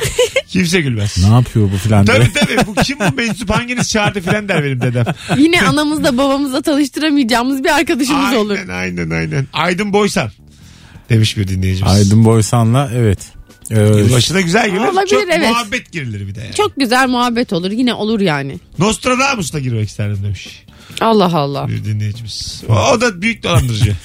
Kimse gülmez. Ne yapıyor bu filan diye. Tabii tabii. Bu kim bu mensup hanginiz çağırdı filan der benim dedem. Yine anamızla babamızla tanıştıramayacağımız bir arkadaşımız aynen, olur. Aynen aynen. Aydın Boysan demiş bir dinleyicimiz. Aydın Boysan'la evet. Ee, Yılbaşına güzel gelir. Olabilir, Çok evet. muhabbet girilir bir de yani. Çok güzel muhabbet olur. Yine olur yani. Nostradamus'ta girmek isterdim demiş Allah Allah. bir dinleyicimiz. O, o da büyük dolandırıcı.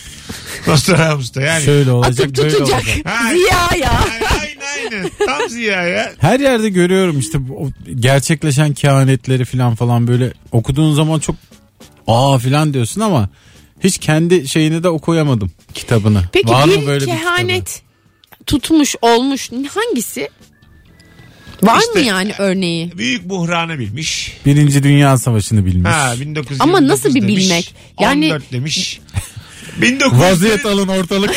Nostradamus'ta yani. Şöyle olacak Atıp böyle tutacak. olacak. şey Ha. Ziya ya. Ay, Aynen aynen. Tam ziya ya. Her yerde görüyorum işte bu- o gerçekleşen kehanetleri falan falan böyle okuduğun zaman çok aa falan diyorsun ama hiç kendi şeyini de okuyamadım kitabını. Peki Var bir mı böyle kitabı? kehanet tutmuş olmuş hangisi? Var İşte- mı yani örneği? Büyük buhranı bilmiş. Birinci Dünya Savaşı'nı bilmiş. Ha 1929 Ama nasıl bir demiş, bilmek? Yani- 14 demiş. 1900 Vaziyet alın ortalık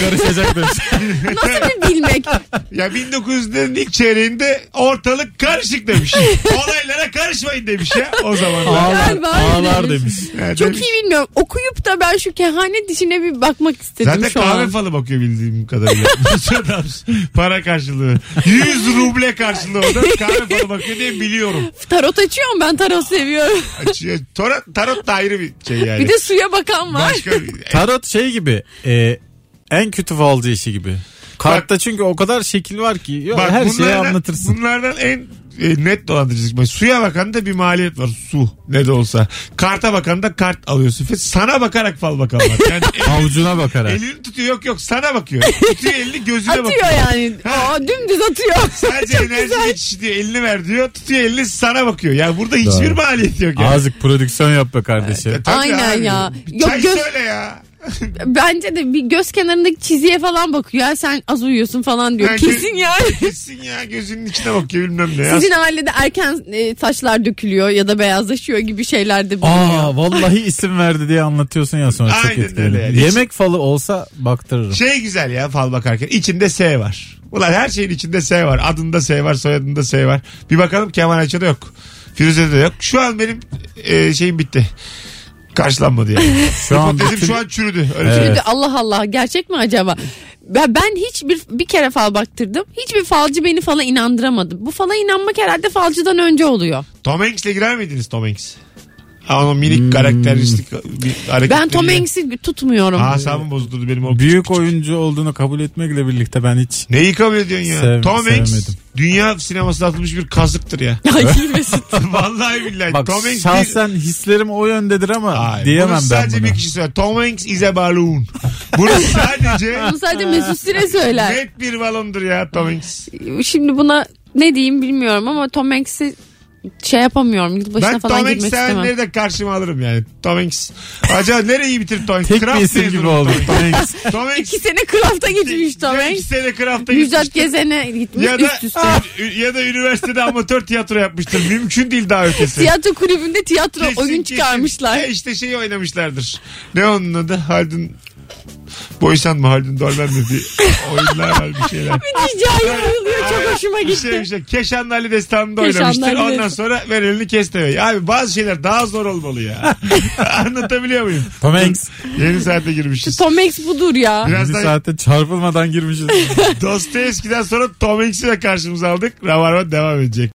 karışacak demiş. Nasıl bir bilmek? Ya 1900'lerin ilk çeyreğinde ortalık karışık demiş. Olaylara karışmayın demiş ya o zamanlar. ağlar, Galiba ağlar öyle demiş. Yani Çok demiş. iyi bilmiyorum. Okuyup da ben şu kehanet işine bir bakmak istedim Zaten şu kahve an. falı bakıyor bildiğim kadarıyla. Nostradamus para karşılığı. 100 ruble karşılığı o da kahve falı bakıyor diye biliyorum. Tarot açıyorum ben tarot seviyorum. Açıyor. Tarot, tarot da ayrı bir şey yani. bir de suya bakan var. Başka bir- Tarot şey gibi e, en kötü falcı işi gibi. Kartta çünkü o kadar şekil var ki yok, Bak her şeyi bunlardan- anlatırsın. Bunlardan en e, net dolandırıcılık. Bak, Suya bakan da bir maliyet var. Su ne de olsa. Karta bakan da kart alıyorsun. Ve Sana bakarak fal bakan var. Yani el- Avucuna bakarak. elini tutuyor yok yok sana bakıyor. Tutuyor elini gözüne bakıyor. Atıyor yani. Ha. Aa, dümdüz atıyor. Sadece enerji geçişi diyor elini ver diyor. Tutuyor elini sana bakıyor. Yani burada hiçbir Doğru. maliyet yok. Yani. E, Azıcık prodüksiyon yap be kardeşim. Tabii Aynen abi. ya. Bir Yok, Çay göz- söyle ya. Bence de bir göz kenarındaki çizgiye falan bakıyor. Ya sen az uyuyorsun falan diyor. Bence- Kesin yani. Kesin ya gözünün içine bakıyor bilmem ne. ya. Sizin ailede erken e, saçlar dökülüyor ya da beyazlaşıyor gibi şeyler de bulunuyor. Aa vallahi isim verdi diye anlatıyorsun ya sonra çok Aynen etkili. öyle yani. Yemek falı olsa baktırırım. Şey güzel ya fal bakarken içinde S var. Ulan her şeyin içinde S var. Adında S var, soyadında S var. Bir bakalım Kemal Ayça'da yok. Firuze'de de yok. Şu an benim e, şeyim bitti. Karşılanmadı yani. Şu an Dedim bütün- şu an çürüdü. Öyle Şimdi söyleyeyim. de Allah Allah gerçek mi acaba? Ben, ben hiçbir bir kere fal baktırdım. Hiçbir falcı beni fala inandıramadı. Bu fala inanmak herhalde falcıdan önce oluyor. Tom Hanks'le girer miydiniz Tom Hanks? Ha, onun minik Hmm. karakteristik bir hareketleri. Ben Tom Hanks'i tutmuyorum. Asabım bozuldu benim o. Büyük oyuncu olduğunu kabul etmekle birlikte ben hiç Neyi kabul ediyorsun ya? Sev- Tom Hanks sevmedim. dünya sinemasına atılmış bir kazıktır ya. Ay Mesut. Vallahi billahi. bak Tom Hanks bir- şahsen hislerim o yöndedir ama Hayır, diyemem bunu ben sadece bunu. bir kişi söyler. Tom Hanks is a balloon. Bunu sadece Bunu sadece Mesut Süre söyler. net bir balondur ya Tom Hanks. Şimdi buna ne diyeyim bilmiyorum ama Tom Hanks'i şey yapamıyorum. Yılbaşına Ben Tom falan Hanks girmek istemem. sevenleri de karşıma alırım yani. Tom Hanks. Acaba nereyi bitirip Tom Hanks? Tek bir Kraft isim gibi mezunu oldu. Tom Hanks. Thanks. Tom Hanks. İki sene Kraft'a gitmiş Tom Ya Hanks. İki sene Kraft'a Müjdat gitmiştir. Gezen'e gitmiş Ya da, Ah, üst üste. ya da üniversitede amatör tiyatro yapmıştır. Mümkün değil daha ötesi. Tiyatro kulübünde tiyatro Kesin, oyun kesin. çıkarmışlar. E işte şeyi oynamışlardır. Ne onun adı? Haldun Boysan mı Haldun Dorman mı? Bir oyunlar var bir şeyler. Hikaye bayılıyor çok hoşuma Bir şey, bir gitti. şey. Keşanlı Ali Destanı'nda Keşanlı oynamıştır. Ali Ondan Destan. sonra ver elini kes demek. Abi bazı şeyler daha zor olmalı ya. Anlatabiliyor muyum? Tom Hanks. Yeni saate Şu girmişiz. Tom Hanks budur ya. Biraz Birinci daha- saatte çarpılmadan girmişiz. Dostoyevski'den sonra Tom Hanks'i de karşımıza aldık. Ravarva devam edecek.